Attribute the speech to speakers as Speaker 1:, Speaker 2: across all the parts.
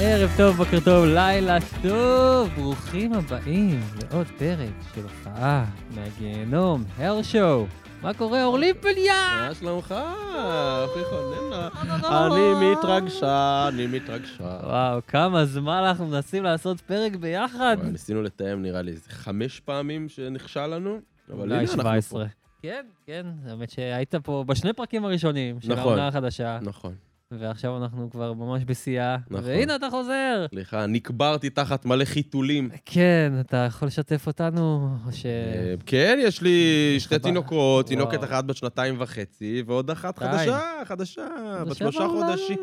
Speaker 1: ערב טוב, בוקר טוב, לילה טוב, ברוכים הבאים לעוד פרק של הופעה מהגיהנום, הר שואו. מה קורה, אורלי פליה?
Speaker 2: מה אה, שלומך? אחי חוננה. אני מתרגשה, אני מתרגשה.
Speaker 1: וואו, כמה זמן אנחנו מנסים לעשות פרק ביחד.
Speaker 2: וואי, ניסינו לתאם נראה לי איזה חמש פעמים שנכשל לנו, אבל הנה
Speaker 1: אולי
Speaker 2: אנחנו
Speaker 1: 17. כן, כן, האמת שהיית פה בשני פרקים הראשונים של
Speaker 2: נכון.
Speaker 1: העונה החדשה,
Speaker 2: פה. נכון.
Speaker 1: ועכשיו אנחנו כבר ממש בשיאה,
Speaker 2: נכון.
Speaker 1: והנה אתה חוזר.
Speaker 2: סליחה, נקברתי תחת מלא חיתולים.
Speaker 1: כן, אתה יכול לשתף אותנו, או ש...
Speaker 2: אה, כן, יש לי שתי
Speaker 1: חבל.
Speaker 2: תינוקות, תינוקת
Speaker 1: אה, וואו.
Speaker 2: אחת בת שנתיים וחצי, ועוד אחת
Speaker 1: די.
Speaker 2: חדשה, חדשה, בת
Speaker 1: חדשה
Speaker 2: שלושה
Speaker 1: בעולם.
Speaker 2: חודשים.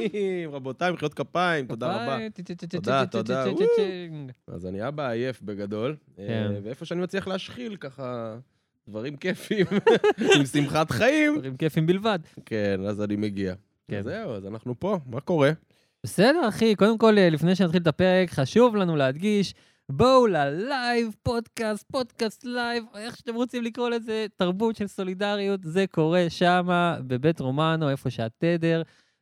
Speaker 2: רבותיי, מחיאות כפיים, תודה רבה.
Speaker 1: ביי, טי- טי- טי- טי-
Speaker 2: תודה,
Speaker 1: טי- טי-
Speaker 2: תודה,
Speaker 1: טי- טי-
Speaker 2: וואו.
Speaker 1: טי-
Speaker 2: אז אני אבא עייף בגדול, אה,
Speaker 1: כן.
Speaker 2: ואיפה שאני מצליח להשחיל, ככה... דברים כיפים, עם שמחת חיים.
Speaker 1: דברים כיפים בלבד.
Speaker 2: כן, אז אני מגיע.
Speaker 1: כן.
Speaker 2: כן. זהו, אז אנחנו פה, מה קורה?
Speaker 1: בסדר, אחי, קודם כל, אה, לפני שנתחיל את הפרק, חשוב לנו להדגיש, בואו ללייב, פודקאסט, פודקאסט לייב, איך שאתם רוצים לקרוא לזה, תרבות של סולידריות, זה קורה שמה, בבית רומנו, איפה שהתדר.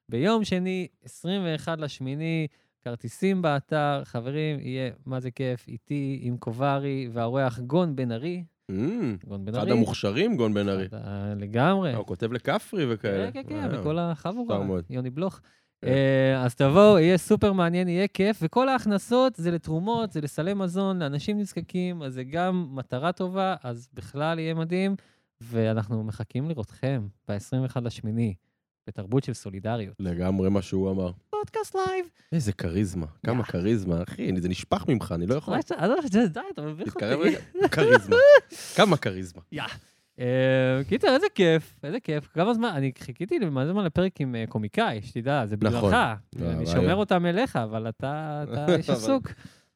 Speaker 1: ביום שני, 21 לשמיני, כרטיסים באתר, חברים, יהיה מה זה כיף, איתי, עם קוברי, והאורח גון בן ארי.
Speaker 2: אמ,
Speaker 1: גון בן ארי.
Speaker 2: אחד המוכשרים, גון בן ארי.
Speaker 1: אה, לגמרי.
Speaker 2: הוא כותב לכפרי וכאלה.
Speaker 1: כן, כן, כן,
Speaker 2: וואו.
Speaker 1: וכל החבורה,
Speaker 2: מוזר מאוד.
Speaker 1: יוני בלוך.
Speaker 2: כן.
Speaker 1: אה, אז תבואו, יהיה סופר מעניין, יהיה כיף, וכל ההכנסות זה לתרומות, זה לסלי מזון, לאנשים נזקקים, אז זה גם מטרה טובה, אז בכלל יהיה מדהים, ואנחנו מחכים לראותכם ב-21 לשמיני, בתרבות של סולידריות.
Speaker 2: לגמרי מה שהוא אמר.
Speaker 1: פודקאסט לייב.
Speaker 2: איזה כריזמה, כמה כריזמה, אחי, אני- זה נשפך ממך, אני לא יכול.
Speaker 1: מה שאתה- עזוב, זה- די, אתה מביך
Speaker 2: תתקרב
Speaker 1: אותי.
Speaker 2: רגע, כריזמה, כמה כריזמה.
Speaker 1: אה, קיצר, איזה כיף, איזה כיף. כמה זמן, אני חיכיתי למלא זמן לפרק עם אה, קומיקאי, שתדע, זה
Speaker 2: נכון.
Speaker 1: בגללך.
Speaker 2: לא,
Speaker 1: אני
Speaker 2: אבל-
Speaker 1: שומר אותם אליך, אבל אתה, אתה איש
Speaker 2: אבל-
Speaker 1: עסוק.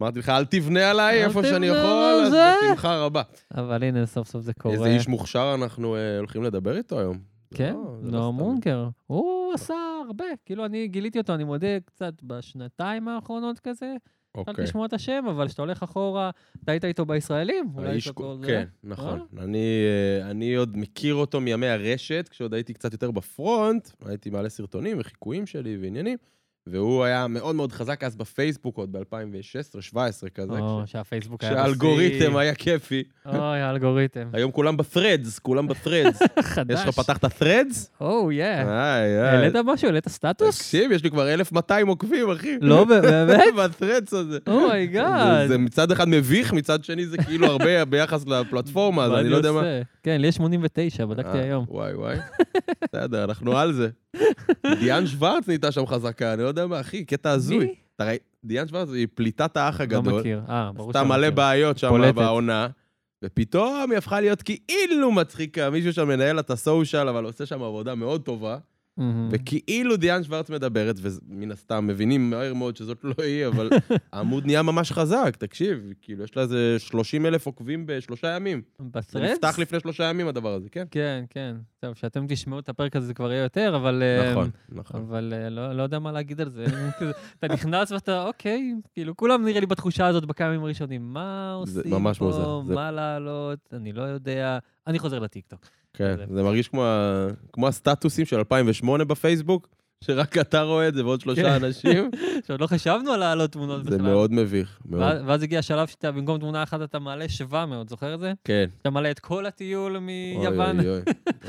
Speaker 2: אמרתי לך, אל תבנה עליי
Speaker 1: אל
Speaker 2: איפה שאני
Speaker 1: תבנה
Speaker 2: יכול,
Speaker 1: על
Speaker 2: אז
Speaker 1: זה.
Speaker 2: בשמחה רבה.
Speaker 1: אבל הנה, סוף סוף זה קורה.
Speaker 2: איזה איש מוכשר אנחנו אה, הולכים לדבר איתו היום. זה
Speaker 1: כן,
Speaker 2: לא- זה לא
Speaker 1: נועם
Speaker 2: סתם.
Speaker 1: מונקר. הוא עשה הרבה. כאילו, אני גיליתי אותו, אני מודה, קצת בשנתיים האחרונות כזה. התחלתי
Speaker 2: אוקיי.
Speaker 1: לשמוע את השם, אבל כשאתה הולך אחורה, אתה היית איתו בישראלים. אולי
Speaker 2: האיש
Speaker 1: קצת
Speaker 2: כו-
Speaker 1: לא זה.
Speaker 2: כן, נכון. אני, אה, אני עוד מכיר אותו מימי הרשת, כשעוד הייתי קצת יותר בפרונט, הייתי מעלה סרטונים וחיקויים שלי ועניינים, והוא היה מאוד מאוד חזק אז בפייסבוק עוד ב-2016-2017 כזה,
Speaker 1: או,
Speaker 2: כש-
Speaker 1: שהפייסבוק היה...
Speaker 2: כשהאלגוריתם היה כיפי.
Speaker 1: בשיא. אוי, האלגוריתם.
Speaker 2: היום כולם בפרדס, כולם בפרדס.
Speaker 1: חדש.
Speaker 2: יש לך אה, פתחת threads?
Speaker 1: או, יא.
Speaker 2: איי, איי.
Speaker 1: אה. העלית משהו? העלית סטטוס?
Speaker 2: תקשיב, יש לי כבר 1,200 עוקבים, אחי.
Speaker 1: לא, באמת?
Speaker 2: ב-threads הזה.
Speaker 1: Oh אומייגאד.
Speaker 2: אה, זה מצד אחד מביך, מצד שני זה כאילו הרבה ביחס לפלטפורמה, אז אני לא יודע מה...
Speaker 1: עושה? כן, לי יש 89, בדקתי
Speaker 2: אה,
Speaker 1: היום.
Speaker 2: וואי וואי, בסדר, אנחנו על זה. דיאן שוורץ נהייתה שם חזקה, אני לא יודע מה, אחי, קטע הזוי.
Speaker 1: מי?
Speaker 2: אתה ראי- דיאן שוורץ היא פליטת האח
Speaker 1: לא
Speaker 2: הגדול.
Speaker 1: מכיר. אה, ברור
Speaker 2: עשתה מלא
Speaker 1: מכיר.
Speaker 2: בעיות שם
Speaker 1: פולטת.
Speaker 2: בעונה, ופתאום היא הפכה להיות כאילו מצחיקה, מישהו שם מנהל את הסושיאל, אבל עושה שם עבודה מאוד טובה,
Speaker 1: Mm-hmm. מהמם.
Speaker 2: וכאילו דיאן שוורץ מדברת, ומן הסתם מבינים מהר מאוד שזאת לא היא, אבל העמוד נהיה ממש חזק, תקשיב, כאילו יש לה איזה 30 אלף עוקבים בשלושה ימים. זה
Speaker 1: בטרדס?
Speaker 2: נפתח לפני שלושה ימים הדבר הזה, כן?
Speaker 1: כן, כן. טוב, כשאתם תשמעו את הפרק הזה זה כבר יהיה יותר, אבל... אה,
Speaker 2: נכון, נכון.
Speaker 1: אבל אה, לא לא יודע מה להגיד על זה. כזה, אתה נכנס ואתה, אוקיי, כאילו, כולם נראה לי בתחושה הזאת בכמה ימים הראשונים. מה
Speaker 2: זה
Speaker 1: עושים
Speaker 2: ממש
Speaker 1: פה?
Speaker 2: מוזר, זה-
Speaker 1: מה לעלות? אני לא יודע. אני חוזר לטיקטוק.
Speaker 2: כן,
Speaker 1: זה-
Speaker 2: זה מרגיש כמו, ה- כמו הסטטוסים של 2008 בפייסבוק, שרק אתה רואה את זה ועוד
Speaker 1: כן.
Speaker 2: שלושה אנשים.
Speaker 1: עכשיו, לא חשבנו על להעלות תמונות בכלל.
Speaker 2: זה מאוד מביך, מאוד.
Speaker 1: ואז- ואז הגיע השלב שאתה, במקום תמונה אחת אתה מעלה 700, זוכר את זה?
Speaker 2: כן.
Speaker 1: אתה מעלה את כל הטיול
Speaker 2: אוי
Speaker 1: מיוון.
Speaker 2: אוי אוי,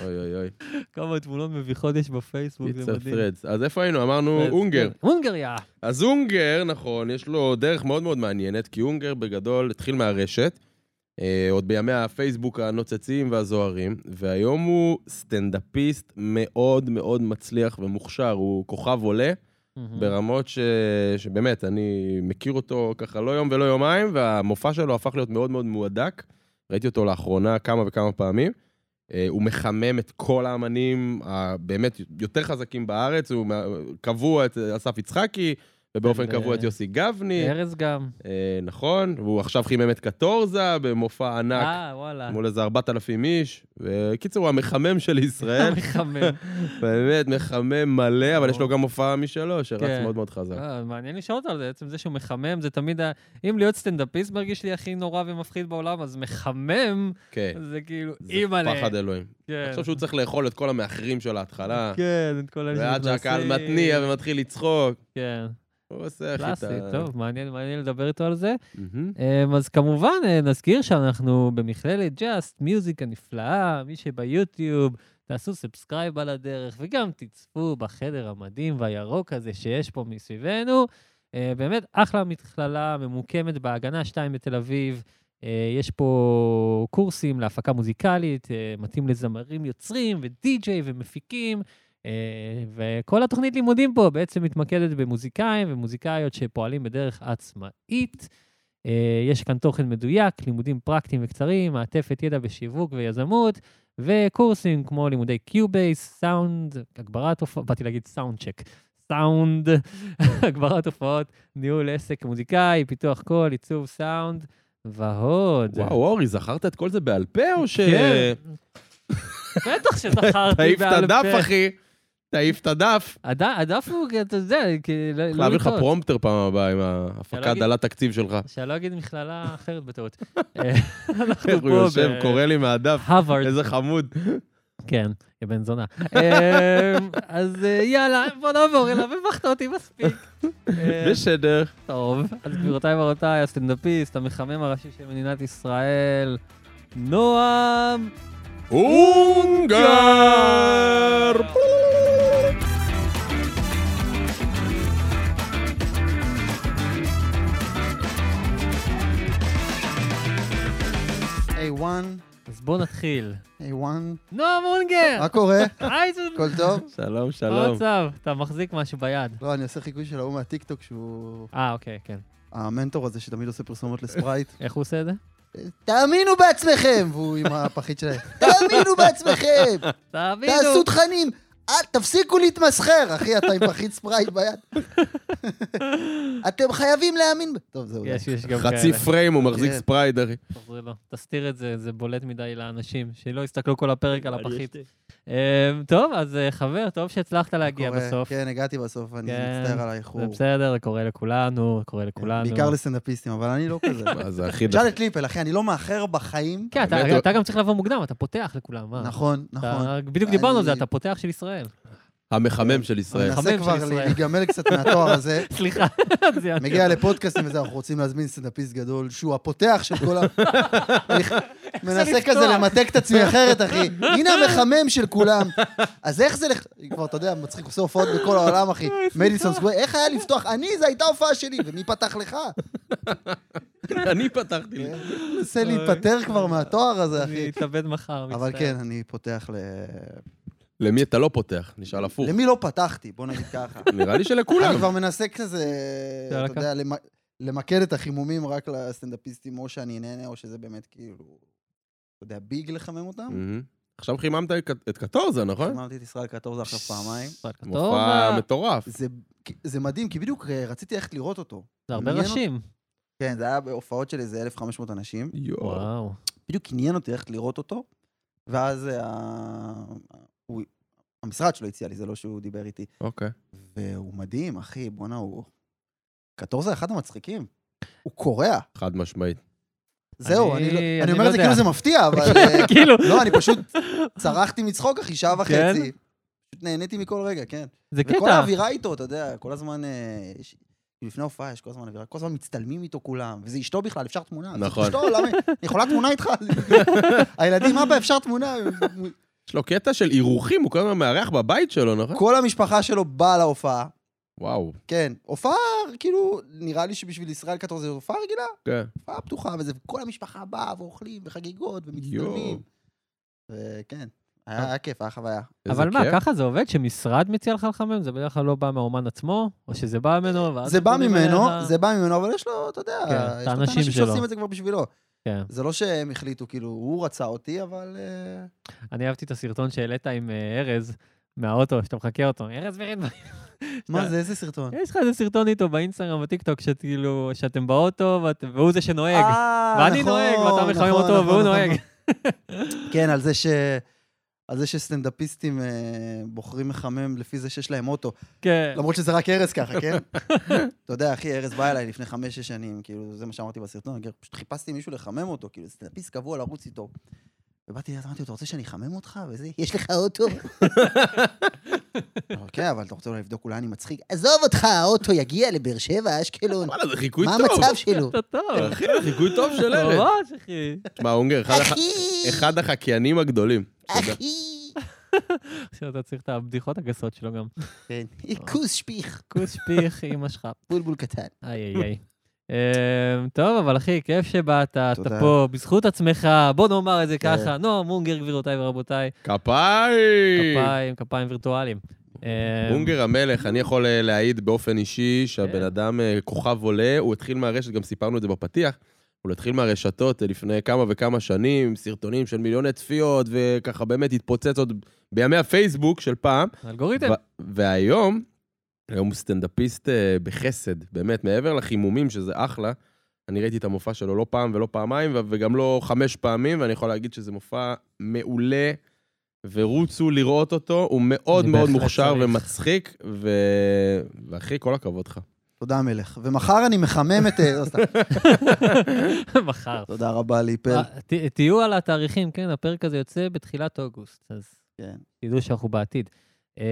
Speaker 2: אוי אוי אוי.
Speaker 1: כמה תמונות מביכות יש בפייסבוק, זה
Speaker 2: פיצר
Speaker 1: מדהים. כן.
Speaker 2: פרדס. אז איפה היינו? אמרנו אונגר.
Speaker 1: הונגריה.
Speaker 2: אז אונגר, נכון, יש לו דרך מאוד מאוד מעניינת, כי אונגר בגדול התחיל מהרשת, אה, עוד בימי הפייסבוק הנוצצים והזוהרים, והיום הוא סטנדאפיסט מאוד מאוד מצליח ומוכשר, הוא כוכב עולה.
Speaker 1: מהמם.
Speaker 2: ברמות ש... שבאמת, אני מכיר אותו ככה לא יום ולא יומיים, והמופע שלו הפך להיות מאוד מאוד מועדק. ראיתי אותו לאחרונה כמה וכמה פעמים. אה, הוא מחמם את כל האמנים הבאמת יותר חזקים בארץ, הוא מה- קבוע את אסף יצחקי, ובאופן
Speaker 1: ו-
Speaker 2: קבוע את יוסי גבני,
Speaker 1: ארז גם.
Speaker 2: אה, נכון, והוא עכשיו חימם את קטורזה במופע ענק.
Speaker 1: אה, וואלה.
Speaker 2: מול איזה 4,000 איש, וקיצור, הוא המחמם של ישראל,
Speaker 1: מחמם.
Speaker 2: באמת מחמם מלא, אבל יש לו גם הופעה משלו, שרץ
Speaker 1: כן.
Speaker 2: מאוד מאוד חזק.
Speaker 1: אה, מעניין לשאול אותו על זה, עצם זה שהוא מחמם, זה תמיד ה... אם להיות סטנדאפיסט מרגיש לי הכי נורא ומפחיד בעולם, אז מחמם,
Speaker 2: כן.
Speaker 1: זה כאילו,
Speaker 2: זה
Speaker 1: אימא'לה.
Speaker 2: פחד אלוהים.
Speaker 1: כן.
Speaker 2: אני חושב שהוא צריך לאכול את כל המאחרים של ההתחלה,
Speaker 1: כן, את כל אלה
Speaker 2: ועד
Speaker 1: שנכנסים.
Speaker 2: שהקהל מתניע ומתחיל לצחוק.
Speaker 1: כן.
Speaker 2: הוא עושה הכי את
Speaker 1: קלאסי,
Speaker 2: ה...
Speaker 1: טוב, מעניין, מעניין לדבר איתו על זה.
Speaker 2: מהמם.
Speaker 1: אמ, אז כמובן, אה, נזכיר שאנחנו במכללת ג'אסט, מיוזיק הנפלאה, מי שביוטיוב, תעשו סאבסקרייב על הדרך, וגם תצפו בחדר המדהים והירוק הזה שיש פה מסביבנו. אה, באמת, אחלה מכללה, ממוקמת בהגנה 2 בתל אביב. אה, יש פה קורסים להפקה מוזיקלית, אה, מתאים לזמרים יוצרים ודי-ג'יי ומפיקים. אה, וכל התוכנית לימודים פה בעצם מתמקדת במוזיקאים ומוזיקאיות שפועלים בדרך עצמאית. אה, יש כאן תוכן מדויק, לימודים פרקטיים וקצרים, מעטפת ידע בשיווק ויזמות, וקורסים כמו לימודי קיובייס, סאונד, הגברת הופעות, באתי להגיד סאונד צ'ק, סאונד, הגברת הופעות, ניהול עסק מוזיקאי, פיתוח קול, עיצוב סאונד, ועוד.
Speaker 2: וואו, אורי, זכרת את כל זה בעל פה, או ש...
Speaker 1: אה, כן. בטח שזכרתי
Speaker 2: תעיף את
Speaker 1: בעל
Speaker 2: הדף,
Speaker 1: פה.
Speaker 2: אחי. תעיף את הדף.
Speaker 1: הד- הדף הוא, אתה יודע, כי לא
Speaker 2: צריך
Speaker 1: לא
Speaker 2: להביא לך
Speaker 1: לטעות.
Speaker 2: פרומפטר פעם הבאה עם
Speaker 1: אפשר
Speaker 2: ההפקה
Speaker 1: להגיד-
Speaker 2: דלת תקציב שלך.
Speaker 1: שאני לא אגיד מכללה אחרת בטעות. אה,
Speaker 2: איך
Speaker 1: אנחנו
Speaker 2: הוא
Speaker 1: פה
Speaker 2: יושב,
Speaker 1: ב- אה,
Speaker 2: קורא לי מהדף,
Speaker 1: הווארד.
Speaker 2: איזה חמוד.
Speaker 1: כן, יא בן זונה. אמ, אז אה, יאללה, בוא נעבור אליו, הבכת אותי מספיק. אה,
Speaker 2: בסדר.
Speaker 1: טוב, אז גבירותיי ורבותיי, הסטנדאפיסט, המחמם הראשי של מדינת ישראל, נועם.
Speaker 2: הונגר!
Speaker 3: A1,
Speaker 1: אז בוא נתחיל.
Speaker 3: A1,
Speaker 1: נועם אונגר!
Speaker 3: מה קורה?
Speaker 1: היי, זה-
Speaker 3: הכל טוב?
Speaker 2: שלום,
Speaker 1: מה
Speaker 2: שלום.
Speaker 1: המצב? אתה מחזיק משהו ביד.
Speaker 3: לא, אני עושה חיקוי של ההוא מהטיקטוק שהוא
Speaker 1: אה, אוקיי, כן.
Speaker 3: המנטור הזה שתמיד עושה פרסומות לספרייט.
Speaker 1: איך הוא עושה את זה?
Speaker 3: תאמינו בעצמכם! והוא עם הפחית שלהם. תאמינו בעצמכם!
Speaker 1: תאמינו.
Speaker 3: תעשו תכנים! אל- תפסיקו להתמסחר! אחי, אתה עם פחית ספרייט ביד. אתם חייבים להאמין ב... טוב, זהו.
Speaker 1: יש, יש גם כאלה.
Speaker 2: חצי פריים הוא מחזיק
Speaker 3: כן.
Speaker 2: ספרייד, אחי.
Speaker 1: תחזרי לו. תסתיר את זה, זה בולט מדי לאנשים, שלא יסתכלו כל הפרק על הפחית.
Speaker 2: יש
Speaker 1: אמ, טוב, אז אה, חבר, טוב שהצלחת להגיע
Speaker 3: קורה.
Speaker 1: בסוף.
Speaker 3: כן, הגעתי בסוף, אני
Speaker 1: כן,
Speaker 3: מצטער על
Speaker 1: זה
Speaker 3: האיחור. כן,
Speaker 1: בסדר, זה קורה לכולנו, קורה לכולנו.
Speaker 3: בעיקר לסטנדאפיסטים, אבל אני לא כזה.
Speaker 2: מה, זה הכי דפוק.
Speaker 3: תשאל את ליפל, אחי, אני לא מאחר בחיים.
Speaker 1: כן, אתה-
Speaker 2: האמת, הוא-
Speaker 1: אתה גם צריך לבוא מוקדם, אתה פותח לכולם, מה?
Speaker 3: נכון,
Speaker 1: אתה-
Speaker 3: נכון.
Speaker 1: בדיוק דיברנו על זה,
Speaker 3: אני-
Speaker 1: אתה פותח של ישראל.
Speaker 2: המחמם של ישראל.
Speaker 1: המחמם.
Speaker 3: מנסה
Speaker 1: של
Speaker 3: כבר
Speaker 1: ישראל.
Speaker 3: להיגמל קצת מהתואר הזה.
Speaker 1: סליחה, זה יעניין.
Speaker 3: מגיע לפודקאסטים וזה, אנחנו רוצים להזמין סטנדאפיסט גדול, שהוא הפותח של כל ה... אני מנסה
Speaker 1: לפתוח?
Speaker 3: כזה למתק את עצמי אחרת, אחי. הנה המחמם של כולם. אז איך זה, לח- כבר, אתה יודע, מצחיק, עושה הופעות בכל העולם, אחי. מדיסון סקוויר, איך היה לפתוח? אני, זו הייתה הופעה שלי, ומי פתח לך?
Speaker 2: אני פתחתי לי.
Speaker 3: מנסה להיפטר כבר מהתואר הזה,
Speaker 1: אני
Speaker 3: אחי.
Speaker 1: אתאבד מחר, מצטער.
Speaker 3: אבל כן, אני פותח ל...
Speaker 2: למי אתה לא פותח? נשאל הפוך.
Speaker 3: למי לא פתחתי? בוא נגיד ככה.
Speaker 2: נראה לי
Speaker 3: כולם.
Speaker 2: שלכולם.
Speaker 3: אני כבר מנסה כזה,
Speaker 1: יאללה,
Speaker 3: אתה יודע, למ- למקד את החימומים רק לסטנדאפיסטים, או שאני נהנה, או שזה באמת כאילו, אתה יודע, ביג לחמם אותם.
Speaker 2: מהמם. עכשיו חיממת את ק- את קטורזה, נכון?
Speaker 3: חיממתי את ישראל קטורזה עכשיו פעמיים.
Speaker 1: אבל טוב,
Speaker 2: מופע
Speaker 1: אה,
Speaker 2: מטורף.
Speaker 3: זה- זה מדהים, כי בדיוק אה, רציתי ללכת לראות אותו.
Speaker 1: זה הרבה
Speaker 3: מעניין
Speaker 1: ראשים.
Speaker 3: כן, זה היה בהופעות של איזה 1,500 אנשים.
Speaker 2: יואו.
Speaker 1: וואו.
Speaker 3: בדיוק עניין אותי ללכת לראות אותו, ואז ה- הוא- המשרד שלו הציע לי, זה לא שהוא דיבר איתי.
Speaker 2: אוקיי.
Speaker 3: והוא מדהים, אחי, בואנה, הוא... קטורזה אחד המצחיקים. הוא קורע.
Speaker 2: חד משמעית.
Speaker 3: זהו,
Speaker 1: אני-
Speaker 3: אני לא-
Speaker 1: אני
Speaker 3: אני
Speaker 1: לא
Speaker 3: אומר את זה
Speaker 1: יודע.
Speaker 3: כאילו זה מפתיע, אבל... אה,
Speaker 1: כאילו,
Speaker 3: לא, אני פשוט צרחתי מצחוק, אחי, שעה
Speaker 1: כן?
Speaker 3: וחצי. פשוט נהניתי מכל רגע, כן.
Speaker 1: זה
Speaker 3: וכל
Speaker 1: קטע.
Speaker 3: האווירה איתו, אתה יודע, כל הזמן... אה, יש- לפני ההופעה יש כל הזמן אווירה, כל הזמן מצטלמים איתו כולם, וזה אשתו בכלל, אפשר תמונה. אז
Speaker 2: נכון.
Speaker 3: אשתו, למה? אני יכולה תמונה איתך? הילדים, אבא, אפשר תמונה?
Speaker 2: יש לו קטע של אירוחים, הוא כל הזמן מארח בבית שלו, נכון?
Speaker 3: כל המשפחה שלו באה להופעה,
Speaker 2: וואו.
Speaker 3: כן. הופעה, כאילו, נראה לי שבשביל ישראל קטור זו הופעה רגילה,
Speaker 2: כן.
Speaker 3: הופעה פתוחה וזה, וכל המשפחה באה ואוכלים וחגיגות
Speaker 2: יואו.
Speaker 3: ומצטלמים. וכן, היה היה כיף, היה חוויה.
Speaker 2: איזה
Speaker 1: אבל מה,
Speaker 2: כיף.
Speaker 1: ככה זה עובד? שמשרד מציע לך לחמם? זה בדרך כלל לא בא מהאומן עצמו? או שזה בא ממנו? ואז
Speaker 3: אה, זה בא
Speaker 1: פונים
Speaker 3: ממנו,
Speaker 1: אליך?
Speaker 3: זה בא ממנו, אבל יש לו, אתה יודע,
Speaker 1: כן, את
Speaker 3: יש לו את
Speaker 1: האנשים
Speaker 3: האנשים
Speaker 1: שלו.
Speaker 3: שעושים את זה כבר בשבילו.
Speaker 1: כן.
Speaker 3: זה לא שהם החליטו, כאילו, הוא רצה אותי, אבל... אה,
Speaker 1: אני אהבתי את הסרטון שהעלית עם אה, ארז מהאוטו, שאתה מחקה אותו. ארז ורידמן.
Speaker 3: מה זה, איזה סרטון?
Speaker 1: יש לך איזה סרטון איתו באינסטגרם וטיקטוק, שכאילו, שאתם באוטו ואת- והוא זה שנוהג.
Speaker 3: אה,
Speaker 1: ואני
Speaker 3: נכון,
Speaker 1: נוהג, ואתה מחמם
Speaker 3: נכון,
Speaker 1: אותו,
Speaker 3: נכון,
Speaker 1: והוא
Speaker 3: נכון,
Speaker 1: נוהג.
Speaker 3: נכון. כן, על זה ש... על זה שסטנדאפיסטים אה, בוחרים מחמם לפי זה שיש להם אוטו.
Speaker 1: כן.
Speaker 3: למרות שזה רק ארז ככה, כן? אתה יודע, אחי, ארז בא אליי לפני חמש-שש שנים, כאילו, זה מה שאמרתי בסרטון, אני פשוט חיפשתי מישהו לחמם אותו, כאילו, סטנדאפיסט קבוע לרוץ איתו. ובאתי אליו, אמרתי לו, אתה רוצה שאני אחמם אותך? וזה, יש לך אוטו? אבל כן, אבל אתה רוצה אולי לבדוק, אולי אני מצחיק. עזוב אותך, האוטו יגיע לבאר שבע, אשקלון.
Speaker 2: וואלה, זה חיקוי
Speaker 3: מה
Speaker 2: טוב.
Speaker 3: המצב שלו?
Speaker 1: אתה טוב.
Speaker 3: כן.
Speaker 2: אחי, זה חיקוי טוב
Speaker 1: לא.
Speaker 2: של ארץ.
Speaker 1: ממש, אחי.
Speaker 2: תשמע, אונגר, אחד
Speaker 1: אה,
Speaker 2: הח-
Speaker 3: אחי!
Speaker 2: אחד החקיינים הגדולים.
Speaker 3: אה.
Speaker 2: תודה.
Speaker 3: אחי!
Speaker 1: אה, עכשיו אתה צריך את הבדיחות הגסות שלו גם.
Speaker 3: כן. כוס שפיך,
Speaker 1: כוס שפיך, אמא שלך.
Speaker 3: בולבול קטן.
Speaker 1: איי איי איי. אמ, טוב, אבל אחי, כיף שבאת, אתה
Speaker 3: תודה.
Speaker 1: פה, בזכות עצמך, בוא נאמר את זה
Speaker 3: כן.
Speaker 1: ככה. נועם מונגר, גבירותיי ורבותיי,
Speaker 2: כפיים!
Speaker 1: כפיים, כפיים וירטואליים. אמ,
Speaker 2: אונגר המלך, אני יכול אה, להעיד באופן אישי
Speaker 1: כן.
Speaker 2: שהבן אדם אה, כוכב עולה, הוא התחיל מהרשת, גם סיפרנו את זה בפתיח, הוא התחיל מהרשתות אה, לפני כמה וכמה שנים, סרטונים של מיליוני צפיות, וככה באמת התפוצץ עוד בימי הפייסבוק של פעם,
Speaker 1: אלגוריתם.
Speaker 2: ו- והיום, היום הוא סטנדאפיסט אה, בחסד, באמת, מעבר לחימומים, שזה אחלה, אני ראיתי את המופע שלו לא פעם ולא פעמיים, ו- וגם לא חמש פעמים, ואני יכול להגיד שזה מופע מעולה, ורוצו לראות אותו, הוא מאוד
Speaker 1: אני
Speaker 2: מאוד
Speaker 1: בהחלט
Speaker 2: מוכשר
Speaker 1: צריך.
Speaker 2: ומצחיק, ו- ואחי, כל הכבוד לך.
Speaker 3: תודה, מלך. ומחר אני מחמם את... לא, סתם.
Speaker 1: מחר.
Speaker 3: תודה רבה ליפל.
Speaker 1: אה, ת- תהיו על התאריכים, כן, הפרק הזה יוצא בתחילת אוגוסט, אז
Speaker 3: כן.
Speaker 1: תדעו שאנחנו בעתיד. אמ,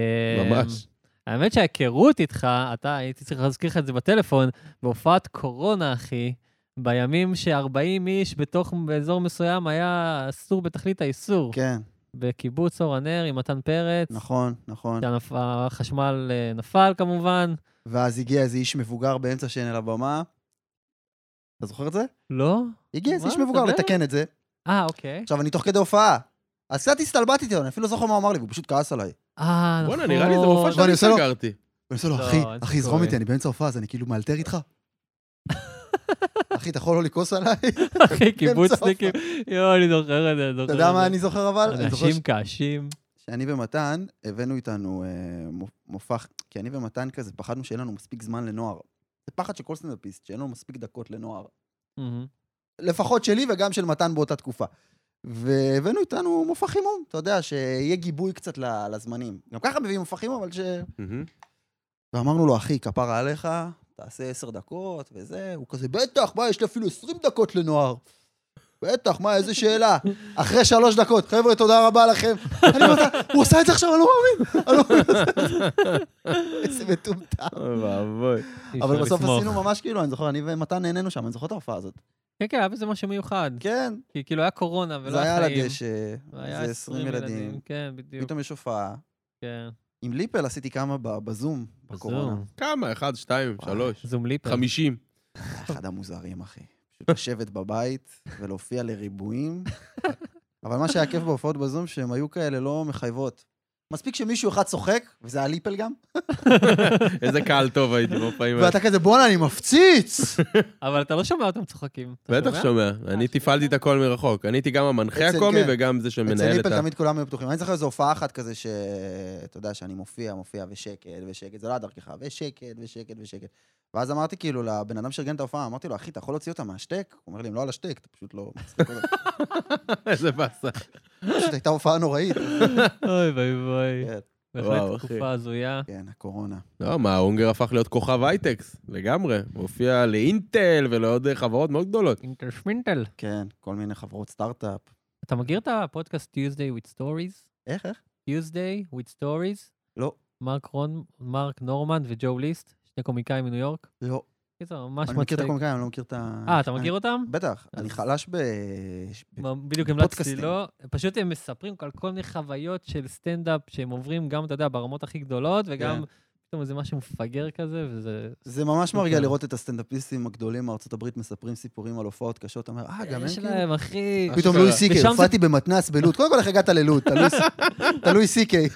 Speaker 2: ממש.
Speaker 1: האמת שההיכרות איתך, אתה, הייתי צריך להזכיר לך את זה בטלפון, בהופעת קורונה, אחי, בימים ש-40 איש בתוך, באזור מסוים היה אסור בתכלית האיסור.
Speaker 3: כן,
Speaker 1: בקיבוץ אור הנר עם מתן פרץ.
Speaker 3: נכון, נכון.
Speaker 1: שהנפ- החשמל אה, נפל כמובן.
Speaker 3: ואז הגיע איזה איש מבוגר באמצע שאין על הבמה. אתה זוכר את זה?
Speaker 1: לא?
Speaker 3: הגיע איזה
Speaker 1: מה,
Speaker 3: איש מבוגר
Speaker 1: אתה יודע?
Speaker 3: לתקן את זה.
Speaker 1: אה, אוקיי.
Speaker 3: עכשיו, אני תוך כדי הופעה. אז קצת הסתלבטתי לו, אני אפילו לא זוכר מה הוא אמר לי, והוא פשוט כעס עליי.
Speaker 1: אה, נכון.
Speaker 2: בואנה, נראה לי זה מופע
Speaker 3: ואני
Speaker 2: שאני
Speaker 3: עושה לו-
Speaker 2: סגרתי.
Speaker 3: ואני עושה לו,
Speaker 1: לא,
Speaker 3: אחי,
Speaker 1: אל
Speaker 3: אחי,
Speaker 1: תזכור
Speaker 3: זרום
Speaker 1: לי."
Speaker 3: איתי, אני באמצע הופעה, אז אני כאילו מאלתר איתך? אחי, אתה יכול לא לכעוס עליי?
Speaker 1: אחי, קיבוצניקים. יואו, אני זוכר את זה, אני זוכר את
Speaker 3: כן, אתה
Speaker 1: זה.
Speaker 3: יודע מה אני זוכר אבל? אני זוכר
Speaker 1: אנשים קשים.
Speaker 3: שאני ומתן הבאנו איתנו אה, מו- מופע, כי אני ומתן כזה פחדנו שאין לנו מספיק זמן לנוער. זה פחד של כל סטנדאפיסט, שאין לנו מספיק דקות לנוער.
Speaker 1: מהמם.
Speaker 3: לפחות שלי וגם של מתן באותה תקופה. והבאנו איתנו מופע חימום, אתה יודע, שיהיה גיבוי קצת ל- לזמנים. גם ככה מביאים מופע חימום, אבל ש...
Speaker 2: מהמם.
Speaker 3: ואמרנו לו, אחי, כפרה עליך, תעשה עשר דקות וזה. הוא כזה, בטח, מה, יש לי אפילו עשרים דקות לנוער. בטח, מה, איזה שאלה. אחרי שלוש דקות, חבר'ה, תודה רבה לכם. אני אומר, הוא עשה את זה עכשיו, אני לא מאמין. אני לא מאמין. איזה מטומטם.
Speaker 2: אוי ואבוי.
Speaker 1: אי
Speaker 3: אבל
Speaker 1: אפשר
Speaker 3: בסוף
Speaker 1: לסמוך.
Speaker 3: עשינו ממש כאילו, אני זוכר, אני ומתן נהנינו שם, אני זוכר את ההופעה הזאת.
Speaker 1: כן, כן, היה בזה משהו מיוחד.
Speaker 3: כן,
Speaker 1: כי כאילו היה קורונה ולא
Speaker 3: זה היה
Speaker 1: היה
Speaker 3: על
Speaker 1: חיים.
Speaker 3: הדשא,
Speaker 1: והיה
Speaker 3: לא זה 20 ילדים.
Speaker 1: כן, בדיוק.
Speaker 3: פתאום יש הופעה.
Speaker 1: כן.
Speaker 3: עם ליפל עשיתי כמה ב- בזום, בקורונה.
Speaker 1: זום.
Speaker 2: כמה? אחד, שתיים,
Speaker 3: וואי.
Speaker 2: שלוש,
Speaker 1: זום ליפר.
Speaker 2: חמישים.
Speaker 3: היה אחד המוזרים, אחי. פשוט לשבת בבית ולהופיע לריבועים. אבל מה שהיה כיף בהופעות בזום, שהן היו כאלה לא מחייבות. מספיק שמישהו אחד צוחק, וזה היה ליפל גם,
Speaker 2: איזה קהל טוב הייתי בפעמים האלה.
Speaker 3: ואתה כזה, בואנה, אני מפציץ!
Speaker 1: אבל אתה לא שומע אותם צוחקים. אתה
Speaker 2: בטח שומע, אני תפעלתי את הכל מרחוק. אני הייתי גם המנחה
Speaker 3: אצל-
Speaker 2: הקומי
Speaker 3: כן.
Speaker 2: וגם זה
Speaker 3: אצל
Speaker 2: שמנהל את
Speaker 3: ליפל
Speaker 2: ה...
Speaker 3: תמיד כולם היו פתוחים. אני זוכר איזו הופעה אחת כזה ש... אתה יודע, שאני מופיע, מופיע ושקט, ושקט, זה לא היה דרכך, ושקט, ושקט, ושקט. ואז אמרתי כאילו לבן אדם שארגן את ההופעה, אמרתי לו, אחי, אתה יכול להוציא אותה מהשטק? הוא אומר לי, הם לא על השטק, אתה פשוט לא... מצחיק אותם."
Speaker 2: איזה באסה.
Speaker 3: פשוט הייתה הופעה נוראית.
Speaker 1: אוי ואי ואי.
Speaker 3: כן,
Speaker 1: בהחלט
Speaker 2: וואו, אחי.
Speaker 1: תקופה הזויה.
Speaker 3: כן, הקורונה.
Speaker 2: לא, מה, הונגר הפך להיות כוכב הייטקס, לגמרי. הוא הופיע לאינטל ולעוד אה, חברות מאוד גדולות.
Speaker 1: אינטרשמינטל.
Speaker 3: כן, כל מיני חברות סטארט-אפ.
Speaker 1: אתה מכיר את הפודקאסט Tuesday with Stories?
Speaker 3: איך, איך?
Speaker 1: Tuesday with Stories?
Speaker 3: לא.
Speaker 1: מרק רון, מרק נורמן וג'ו ליסט, שני קומיקאים מניו יורק.
Speaker 3: לא.
Speaker 1: קיצר, ממש
Speaker 3: אני מכיר
Speaker 1: מצחיק.
Speaker 3: את הקומיקאים, אני לא מכיר את ה...
Speaker 1: אה, אתה מכיר אותם?
Speaker 3: בטח,
Speaker 1: אז-
Speaker 3: אני חלש ב...
Speaker 1: מ- בדיוק המלצתי
Speaker 3: פודקאסטים.
Speaker 1: לו. פשוט הם מספרים על כל מיני חוויות של סטנדאפ שהם עוברים גם, אתה יודע, ברמות הכי גדולות, וגם
Speaker 3: כן.
Speaker 1: פתאום איזה משהו מפגר כזה, וזה...
Speaker 3: זה ממש מרגיע
Speaker 1: אוקיי.
Speaker 3: לראות את הסטנדאפיסטים הגדולים מארצות הברית מספרים סיפורים על הופעות קשות. אתה אומר, אה, גם הם
Speaker 1: יש
Speaker 3: כאילו...
Speaker 1: להם, אחי.
Speaker 2: אה,
Speaker 3: פתאום
Speaker 2: אשכרה.
Speaker 3: לואי סי-קיי,
Speaker 1: ושם זה-
Speaker 3: הופעתי במתנס בלוד. קודם כל, איך הגעת ללוד? אתה לואי סי- אתה לואי סי-קיי.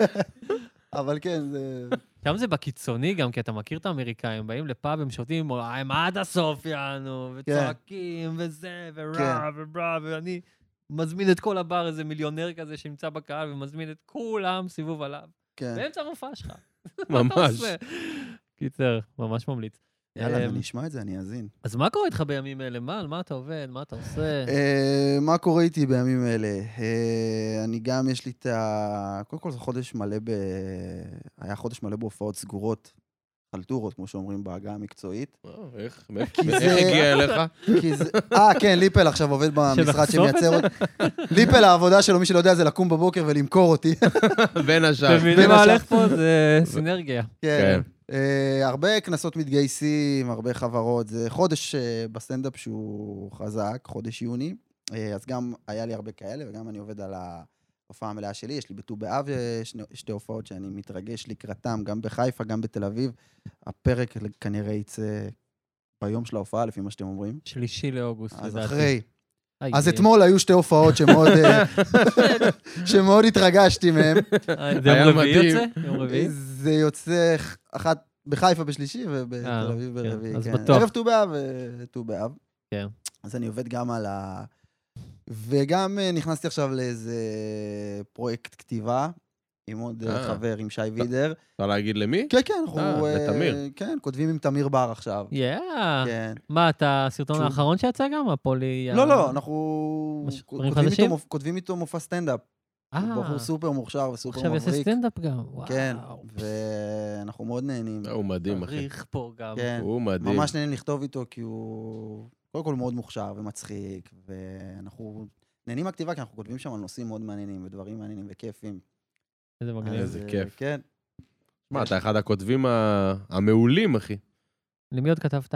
Speaker 3: אבל כן, זה...
Speaker 1: שם זה בקיצוני גם, כי אתה מכיר את האמריקאים, הם באים לפאב, הם שותים, הם עד הסוף, יענו,
Speaker 3: כן.
Speaker 1: וצועקים, וזה, ורע, וברע, ואני מזמין את כל הבר, איזה מיליונר כזה שנמצא בקהל, ומזמין את כולם סיבוב עליו.
Speaker 3: כן.
Speaker 1: באמצע המופע שלך. מה אתה
Speaker 2: ממש.
Speaker 1: עושה? קיצר, ממש ממליץ.
Speaker 3: יאללה,
Speaker 1: אמ,
Speaker 3: אני אשמע את זה, אני אאזין.
Speaker 1: אז מה קורה איתך בימים אלה? מה, על מה אתה עובד? מה אתה עושה?
Speaker 3: אה, מה קורה איתי בימים אלה? אה, אני גם, יש לי את ה... קודם כל, זה חודש מלא ב... היה חודש מלא בהופעות סגורות. חלטורות, כמו שאומרים בעגה המקצועית.
Speaker 2: וואו, לא, איך, מאיפה-
Speaker 3: כי
Speaker 2: איך
Speaker 3: זה-
Speaker 2: הגיע אליך?
Speaker 3: כי זה... אה, כן, ליפל עכשיו עובד במשרד
Speaker 1: שנחשוף את
Speaker 3: שמייצר... אות- ליפל, העבודה שלו, מי שלא יודע, זה לקום בבוקר ולמכור אותי.
Speaker 2: בין השאר.
Speaker 1: אתם מבינים מה
Speaker 3: בין
Speaker 1: הולך פה? זה סינרגיה.
Speaker 3: כן. אה, הרבה קנסות מתגייסים, הרבה חברות. זה חודש אה, בסטנדאפ שהוא חזק, חודש יוני. אה, אז גם היה לי הרבה כאלה, וגם אני עובד על ההופעה המלאה שלי. יש לי בט"ו באב אה, שני- שתי הופעות שאני מתרגש לקראתם, גם בחיפה, גם בתל אביב. הפרק כנראה יצא ביום של ההופעה, לפי מה שאתם אומרים.
Speaker 1: שלישי לאוגוסט, לדעתי.
Speaker 3: אז אחרי.
Speaker 1: איי,
Speaker 3: אז
Speaker 1: איי.
Speaker 3: אתמול היו שתי הופעות שמאוד, אה, שמאוד התרגשתי מהן.
Speaker 1: זה
Speaker 2: היה
Speaker 1: אה, יום רביעי
Speaker 2: מדהים.
Speaker 1: יוצא? יום רביעי?
Speaker 3: זה יוצא ח- אחת בחיפה בשלישי
Speaker 1: אה,
Speaker 3: ובתל אביב
Speaker 1: כן,
Speaker 3: ברביעי.
Speaker 1: אז
Speaker 3: כן.
Speaker 1: בטוח.
Speaker 3: ערב ט"ו באב, אה, ט"ו באב.
Speaker 1: כן.
Speaker 3: אז אני עובד גם על ה... וגם אה, נכנסתי עכשיו לאיזה פרויקט כתיבה עם עוד אה,
Speaker 2: אה.
Speaker 3: חבר, עם שי
Speaker 1: אה,
Speaker 3: וידר.
Speaker 2: אפשר להגיד למי?
Speaker 3: כן, כן, אנחנו...
Speaker 2: אה,
Speaker 3: אה,
Speaker 2: לתמיר.
Speaker 3: כן, כותבים עם תמיר בר עכשיו.
Speaker 1: יאה.
Speaker 3: כן.
Speaker 1: מה, אתה הסרטון
Speaker 3: שהוא-
Speaker 1: האחרון שיצא גם? הפולי... ה-
Speaker 3: לא, לא, אנחנו
Speaker 1: מש- דברים
Speaker 3: כותבים איתו
Speaker 1: חדשים?
Speaker 3: מופ- כותבים איתו מופע סטנדאפ.
Speaker 1: אה,
Speaker 3: הוא בחור סופר מוכשר וסופר
Speaker 1: עכשיו יעשה
Speaker 3: מבריק.
Speaker 1: סטנדאפ גם. וואו.
Speaker 3: כן, ואנחנו מאוד נהנים.
Speaker 2: לא, הוא מדהים, אחי.
Speaker 1: צריך פה גם.
Speaker 3: כן.
Speaker 2: הוא מדהים.
Speaker 3: ממש נהנים לכתוב איתו, כי הוא קודם כל מאוד מוכשר ומצחיק, ואנחנו נהנים מהכתיבה, כי אנחנו כותבים שם על נושאים מאוד מעניינים, ודברים מעניינים וכיפים.
Speaker 1: איזה מגניב.
Speaker 2: אוקיי. איזה
Speaker 3: אז,
Speaker 2: כיף.
Speaker 3: אה, כן.
Speaker 2: מה, אתה אחד הכותבים ה- המעולים, אחי.
Speaker 1: למי עוד כתבת?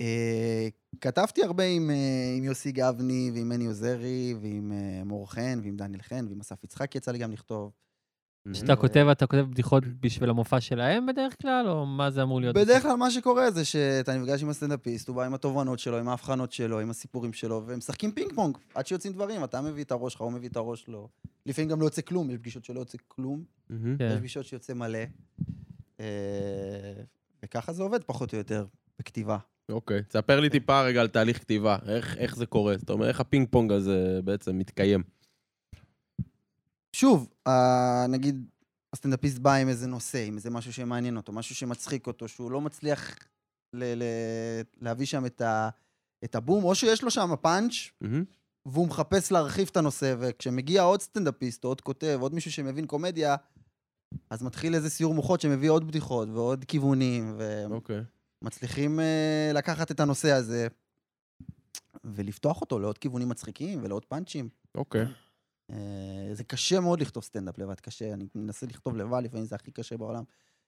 Speaker 3: אה, כתבתי הרבה עם, אה, עם יוסי גבני, ועם מני עוזרי, ועם אה, מור חן, ועם דניאל חן, ועם אסף יצחק יצא לי גם לכתוב.
Speaker 2: Mm-hmm.
Speaker 1: כשאתה
Speaker 3: אה.
Speaker 1: כותב, אתה כותב בדיחות בשביל המופע שלהם בדרך כלל, או מה זה אמור להיות?
Speaker 3: בדרך כלל מה שקורה זה שאתה נפגש עם הסטנדאפיסט, הוא בא עם התובנות שלו, עם ההבחנות שלו, עם הסיפורים שלו, והם משחקים פינג פונג עד שיוצאים דברים. אתה מביא את הראש שלך, הוא מביא את הראש שלו. לפעמים גם לא יוצא כלום, יש פגישות שלא יוצא כלום.
Speaker 2: מהמם.
Speaker 1: כן.
Speaker 3: יש פגישות שיוצא מלא. אה, וככה זה עובד פחות או יותר בכתיבה.
Speaker 2: אוקיי. תספר לי טיפה רגע על תהליך כתיבה. איך- איך זה קורה? זאת אומרת, איך הפינג פונג הזה בעצם מתקיים?
Speaker 3: שוב, אה, נגיד הסטנדאפיסט בא עם איזה נושא, עם איזה משהו שמעניין אותו, משהו שמצחיק אותו, שהוא לא מצליח ל- ל- להביא שם את, ה- את הבום, או שיש לו שם פאנץ',
Speaker 2: מהמם.
Speaker 3: והוא מחפש להרחיב את הנושא, וכשמגיע עוד סטנדאפיסט, או עוד כותב, עוד מישהו שמבין קומדיה, אז מתחיל איזה סיור מוחות שמביא עוד בדיחות ועוד כיוונים, ו...
Speaker 2: אוקיי.
Speaker 3: מצליחים אה, לקחת את הנושא הזה ולפתוח אותו לעוד כיוונים מצחיקים ולעוד פאנצ'ים.
Speaker 2: אוקיי.
Speaker 3: אה, זה קשה מאוד לכתוב סטנדאפ לבד, קשה, אני מנסה לכתוב לבד, לפעמים זה הכי קשה בעולם.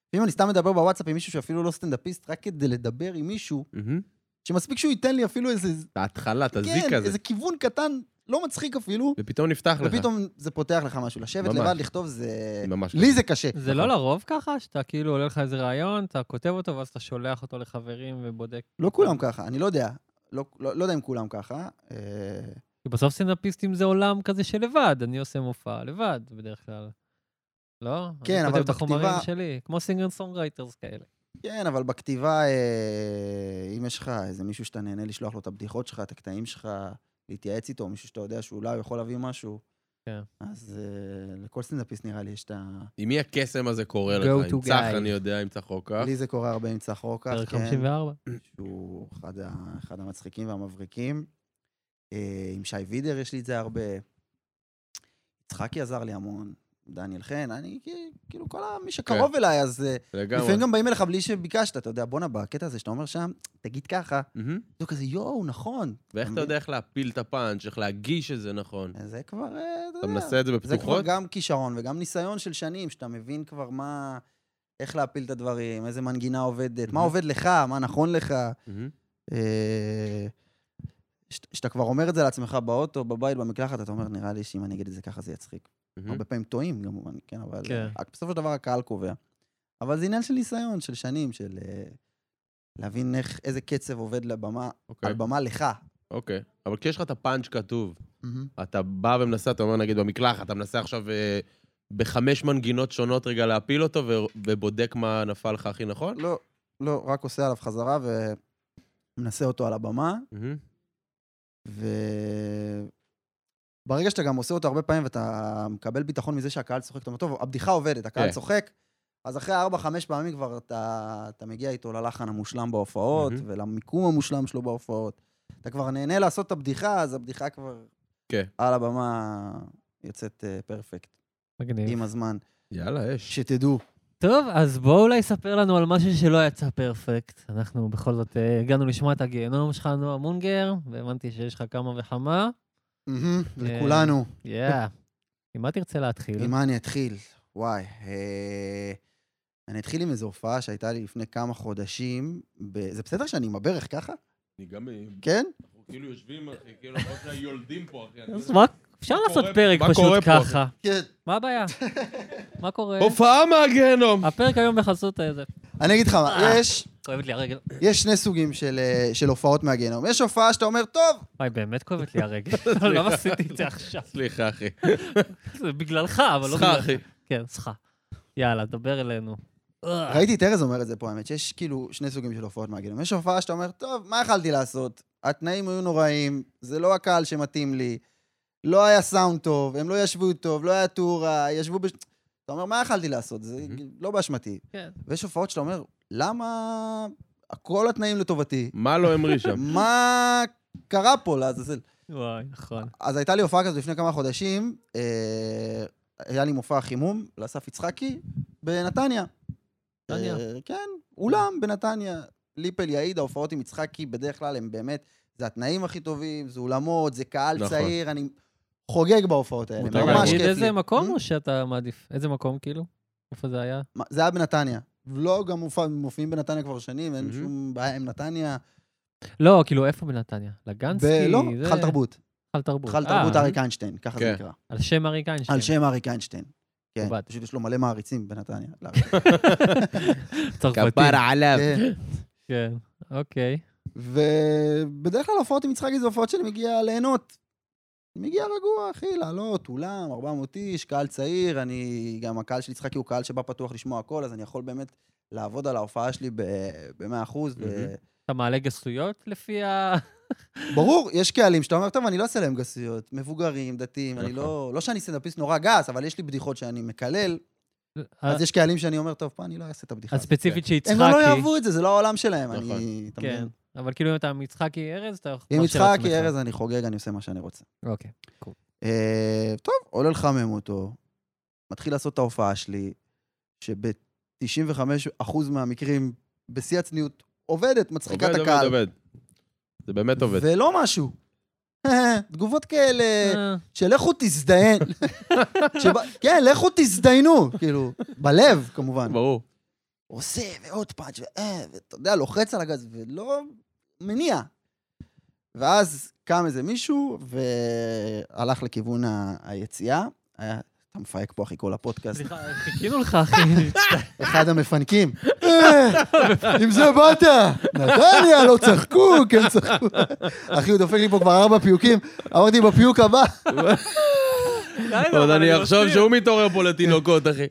Speaker 3: לפעמים אני סתם מדבר בוואטסאפ עם מישהו שאפילו לא סטנדאפיסט, רק כדי לדבר עם מישהו,
Speaker 2: מהמם.
Speaker 3: שמספיק שהוא ייתן לי אפילו איזה...
Speaker 2: את ההתחלה, את הזיק
Speaker 3: כן,
Speaker 2: הזה.
Speaker 3: איזה כיוון קטן, לא מצחיק אפילו,
Speaker 2: ופתאום נפתח לך.
Speaker 3: ופתאום זה פותח לך משהו. לשבת
Speaker 2: ממש.
Speaker 3: לבד, לכתוב, זה...
Speaker 2: ממש
Speaker 3: לי זה קשה.
Speaker 1: זה לא לרוב ככה? שאתה כאילו עולה לך איזה רעיון, אתה כותב אותו, ואז אתה שולח אותו לחברים ובודק.
Speaker 3: לא כולם ככה, אני לא יודע. לא, לא, לא יודע אם כולם ככה. אה,
Speaker 1: כי בסוף סטנדאפיסטים זה עולם כזה שלבד, אני עושה מופע לבד בדרך כלל. לא?
Speaker 3: כן, אבל
Speaker 1: אני כותב את החומרים
Speaker 3: בכתיבה-
Speaker 1: שלי, כמו סינגר סונגרייטרס כאלה.
Speaker 3: כן, אבל בכתיבה, אה, אם יש לך איזה מישהו שאתה נהנה לשלוח לו את הבדיחות שלך, את הקטעים שלך, להתייעץ איתו, מישהו שאתה יודע שאולי הוא יכול להביא משהו,
Speaker 1: כן.
Speaker 3: אז אה, לכל סטנדאפיסט נראה לי יש את ה...
Speaker 2: עם מי הקסם הזה קורה
Speaker 1: Go
Speaker 2: לך?
Speaker 1: to
Speaker 2: עם צח,
Speaker 1: guy.
Speaker 2: אני יודע, עם אה? צח רוקח.
Speaker 3: לי זה קורה הרבה עם צח רוקח,
Speaker 1: פרק
Speaker 3: כן,
Speaker 1: 54.
Speaker 3: שהוא אחד, ה, אחד המצחיקים והמבריקים. אה, עם שי וידר יש לי את זה הרבה. יצחקי עזר לי המון, דניאל חן, אני כ- כאילו כל ה- מי שקרוב אליי, אז אה,
Speaker 2: לגמרי.
Speaker 3: לפעמים גם באים אליך בלי שביקשת, אתה יודע, בואנה, בקטע הזה שאתה אומר שם, תגיד ככה.
Speaker 2: מהמם.
Speaker 3: זה כזה, יואו, נכון.
Speaker 2: ואיך אתה
Speaker 3: מבין?
Speaker 2: יודע איך להפיל את הפאנץ', איך להגיש את זה נכון?
Speaker 3: זה כבר, אה, אתה
Speaker 2: אתה
Speaker 3: יודע.
Speaker 2: מנסה את זה
Speaker 3: זה כבר
Speaker 2: בפתוחות?
Speaker 3: גם כישרון וגם ניסיון של שנים, שאתה מבין כבר מה... איך להפיל את הדברים, איזה מנגינה עובדת, מה
Speaker 2: מהמם.
Speaker 3: עובד לך, מה נכון לך.
Speaker 2: מהמם.
Speaker 3: אה, ש- שאתה כבר אומר את זה לעצמך באוטו, בבית, במקלחת, אתה אומר, נראה לי שאם אני אגיד את זה ככה זה יצחיק.
Speaker 2: מהמם.
Speaker 3: הרבה פעמים טועים, כמובן, כן, אבל
Speaker 1: כן.
Speaker 3: אה, בסופו של דבר הקהל קובע. אבל זה עניין של ניסיון, של שנים, של אה, להבין איך, איזה קצב עובד לבמה,
Speaker 2: אוקיי,
Speaker 3: על במה לך.
Speaker 2: אוקיי. אבל כשיש לך את הפאנץ' כתוב, אתה בא ומנסה, אתה אומר, נגיד, במקלחת, אתה מנסה עכשיו אה, בחמש מנגינות שונות רגע להפיל אותו, ו- ובודק מה נפל לך הכי נכון?
Speaker 3: לא, לא, רק עושה עליו חזרה ומנסה אותו על הבמה,
Speaker 2: מהמם.
Speaker 3: ו... ברגע שאתה גם עושה אותו הרבה פעמים ואתה מקבל ביטחון מזה שהקהל צוחק, אתה אומר, טוב, הבדיחה עובדת, הקהל
Speaker 2: כן.
Speaker 3: צוחק, אז אחרי ארבע, חמש פעמים כבר אתה, אתה מגיע איתו ללחן המושלם בהופעות,
Speaker 2: מהמם.
Speaker 3: ולמיקום המושלם שלו בהופעות. אתה כבר נהנה לעשות את הבדיחה, אז הבדיחה כבר
Speaker 2: כן.
Speaker 3: על הבמה יוצאת אה, פרפקט
Speaker 1: מגניב.
Speaker 2: כן.
Speaker 3: עם הזמן.
Speaker 2: יאללה, אש.
Speaker 3: שתדעו,
Speaker 1: טוב, אז בואו אולי ספר לנו על משהו שלא יצא פרפקט. אנחנו בכל זאת אה, הגענו לשמוע את הגיהנום שלך, נועה מונגר, והבנתי שיש לך כמה וכמה.
Speaker 3: מהמם,
Speaker 2: אה,
Speaker 3: לכולנו.
Speaker 1: יאה. עם מה תרצה להתחיל?
Speaker 3: עם מה אני אתחיל? וואי. אה, אני אתחיל עם איזו הופעה שהייתה לי לפני כמה חודשים. ב- זה בסדר שאני עם הברך ככה?
Speaker 2: אני גם...
Speaker 3: כן?
Speaker 2: אנחנו כאילו יושבים, אחי, כאילו, אנחנו רק יולדים פה, אחי. אני-
Speaker 1: אז מה? אפשר
Speaker 2: מה
Speaker 1: לעשות
Speaker 2: קורה-
Speaker 1: פרק
Speaker 2: מה
Speaker 1: פשוט
Speaker 2: קורה פה?
Speaker 1: ככה.
Speaker 3: כן.
Speaker 1: מה הבעיה? מה קורה?
Speaker 2: הופעה מהגיהנום!
Speaker 1: הפרק היום בחסות אה, איזה...
Speaker 3: אני אגיד לך מה,
Speaker 1: אה.
Speaker 3: יש-
Speaker 1: כואבת לי הרגל.
Speaker 3: יש שני סוגים של, אה, של הופעות מהגיהנום. יש הופעה שאתה אומר, טוב,
Speaker 1: וואי, באמת כואבת לי הרגל. למה עשיתי את זה עכשיו?
Speaker 2: סליחה, אחי.
Speaker 1: זה בגללך, אבל לא
Speaker 2: סליחה,
Speaker 1: בגללך.
Speaker 2: אחי.
Speaker 1: כן, סליחה. יאללה, דבר אלינו.
Speaker 3: ראיתי את ארז אומר את זה פה, האמת, שיש כאילו שני סוגים של הופעות מהגיהנום. יש הופעה שאתה אומר, טוב, מה יכלתי לעשות? התנאים היו נוראים, זה לא הקהל שמתאים לי, לא היה סאונד טוב, הם לא ישבו טוב, לא היה טורה, ישבו בש... אתה אומר, מה יכלתי לעשות? זה
Speaker 2: מהמם.
Speaker 3: לא באשמתי.
Speaker 1: כן.
Speaker 3: ויש הופעות שאתה אומר, למה כל התנאים לטובתי?
Speaker 2: מה לא המריא
Speaker 1: כן.
Speaker 2: שם?
Speaker 3: מה קרה פה לעזאזל?
Speaker 1: וואי, נכון.
Speaker 3: אז הייתה לי הופעה כזאת לפני כמה חודשים, אה, היה לי מופע חימום לאסף יצחקי בנתניה.
Speaker 1: נתניה.
Speaker 3: אה, כן, אולם בנתניה. ליפל יעיד, ההופעות עם יצחקי בדרך כלל הם באמת, זה התנאים הכי טובים, זה אולמות, זה קהל
Speaker 2: נכון.
Speaker 3: צעיר, אני חוגג בהופעות האלה,
Speaker 2: מותר
Speaker 3: ממש כיף
Speaker 1: תגיד
Speaker 3: לי.
Speaker 1: איזה מקום
Speaker 3: Hmm?
Speaker 1: או שאתה מעדיף? איזה מקום, כאילו? איפה זה היה?
Speaker 3: מה, זה היה בנתניה. לא, גם מופע- מופיעים בנתניה כבר שנים, אין
Speaker 2: Mhm.
Speaker 3: שום בעיה עם נתניה.
Speaker 1: לא, כאילו, איפה בנתניה?
Speaker 3: ב-
Speaker 1: לגנסקי?
Speaker 3: לא,
Speaker 1: זה-
Speaker 3: היכל תרבות.
Speaker 1: היכל תרבות.
Speaker 3: היכל
Speaker 1: אה,
Speaker 3: תרבות אריק איינשטיין, ככה זה
Speaker 2: כן.
Speaker 3: נקרא.
Speaker 1: על שם אריק איינשטיין.
Speaker 3: על שם אריק איינשטיין. כן,
Speaker 1: מכובד.
Speaker 3: פשוט יש לו מלא מעריצים בנתניה. לא, לאריק
Speaker 1: כן. צרפתי.
Speaker 2: עליו.
Speaker 3: כן.
Speaker 1: כן, אוקיי.
Speaker 3: ובדרך כלל הופעות עם יצחקי זה הופעות שאני מגיע ליהנות. אני מגיע רגוע, אחי, לעלות, אולם, 400 איש, קהל צעיר, אני, גם הקהל של יצחקי הוא קהל שבא פתוח לשמוע הכל, אז אני יכול באמת לעבוד על ההופעה שלי ב-100%. ו...
Speaker 2: מהמם.
Speaker 1: אתה מעלה גסויות לפי ה...
Speaker 3: ברור, יש קהלים שאתה אומר, טוב, אני לא אעשה להם גסויות, מבוגרים, דתיים,
Speaker 1: נכון.
Speaker 3: אני לא, לא שאני סטנדאפיסט נורא גס, אבל יש לי בדיחות שאני מקלל, אז יש קהלים שאני אומר, טוב, פה אני לא אעשה את הבדיחה
Speaker 1: אז
Speaker 3: הזאת.
Speaker 1: ספציפית
Speaker 3: הם גם לא
Speaker 1: שיצחקי.
Speaker 3: יאהבו את זה, זה לא העולם שלהם,
Speaker 2: נכון. כן,
Speaker 3: אני... אתה
Speaker 1: כן,
Speaker 3: מבין?
Speaker 1: אבל כאילו אם אתה עם יצחקי ארז, אתה יכול...
Speaker 3: עם יצחקי ארז אני חוגג, אני עושה מה שאני רוצה.
Speaker 1: אוקיי.
Speaker 3: אה, טוב, עולה לחמם אותו, מתחיל לעשות את ההופעה שלי, שב-95% מהמקרים, בשיא הצניעות, עובדת, מצחיקה את
Speaker 2: עובד,
Speaker 3: הקהל.
Speaker 2: עובד, עובד. זה באמת עובד.
Speaker 3: ולא משהו. תגובות כאלה,
Speaker 1: אה,
Speaker 3: של לכו תזדיין. שבא- כן, לכו תזדיינו, כאילו, בלב, כמובן.
Speaker 2: ברור.
Speaker 3: עושה, ועוד פאנץ', ואה, ואתה יודע, לוחץ על הגז, ולא מניע. ואז קם איזה מישהו, והלך לכיוון ה- היציאה. היה, אתה מפהק פה, אחי, כל הפודקאסט.
Speaker 1: סליחה, חיכינו לך, אחי.
Speaker 3: אחד המפנקים. "אה, עם זה באת! נתניה, לא צחקו, כן צחקו. אחי, הוא דופק לי פה כבר ארבע פיוקים. אמרתי, בפיוק הבא.
Speaker 2: עוד
Speaker 1: לא
Speaker 2: אני אחשוב שהוא מתעורר פה לתינוקות, אחי.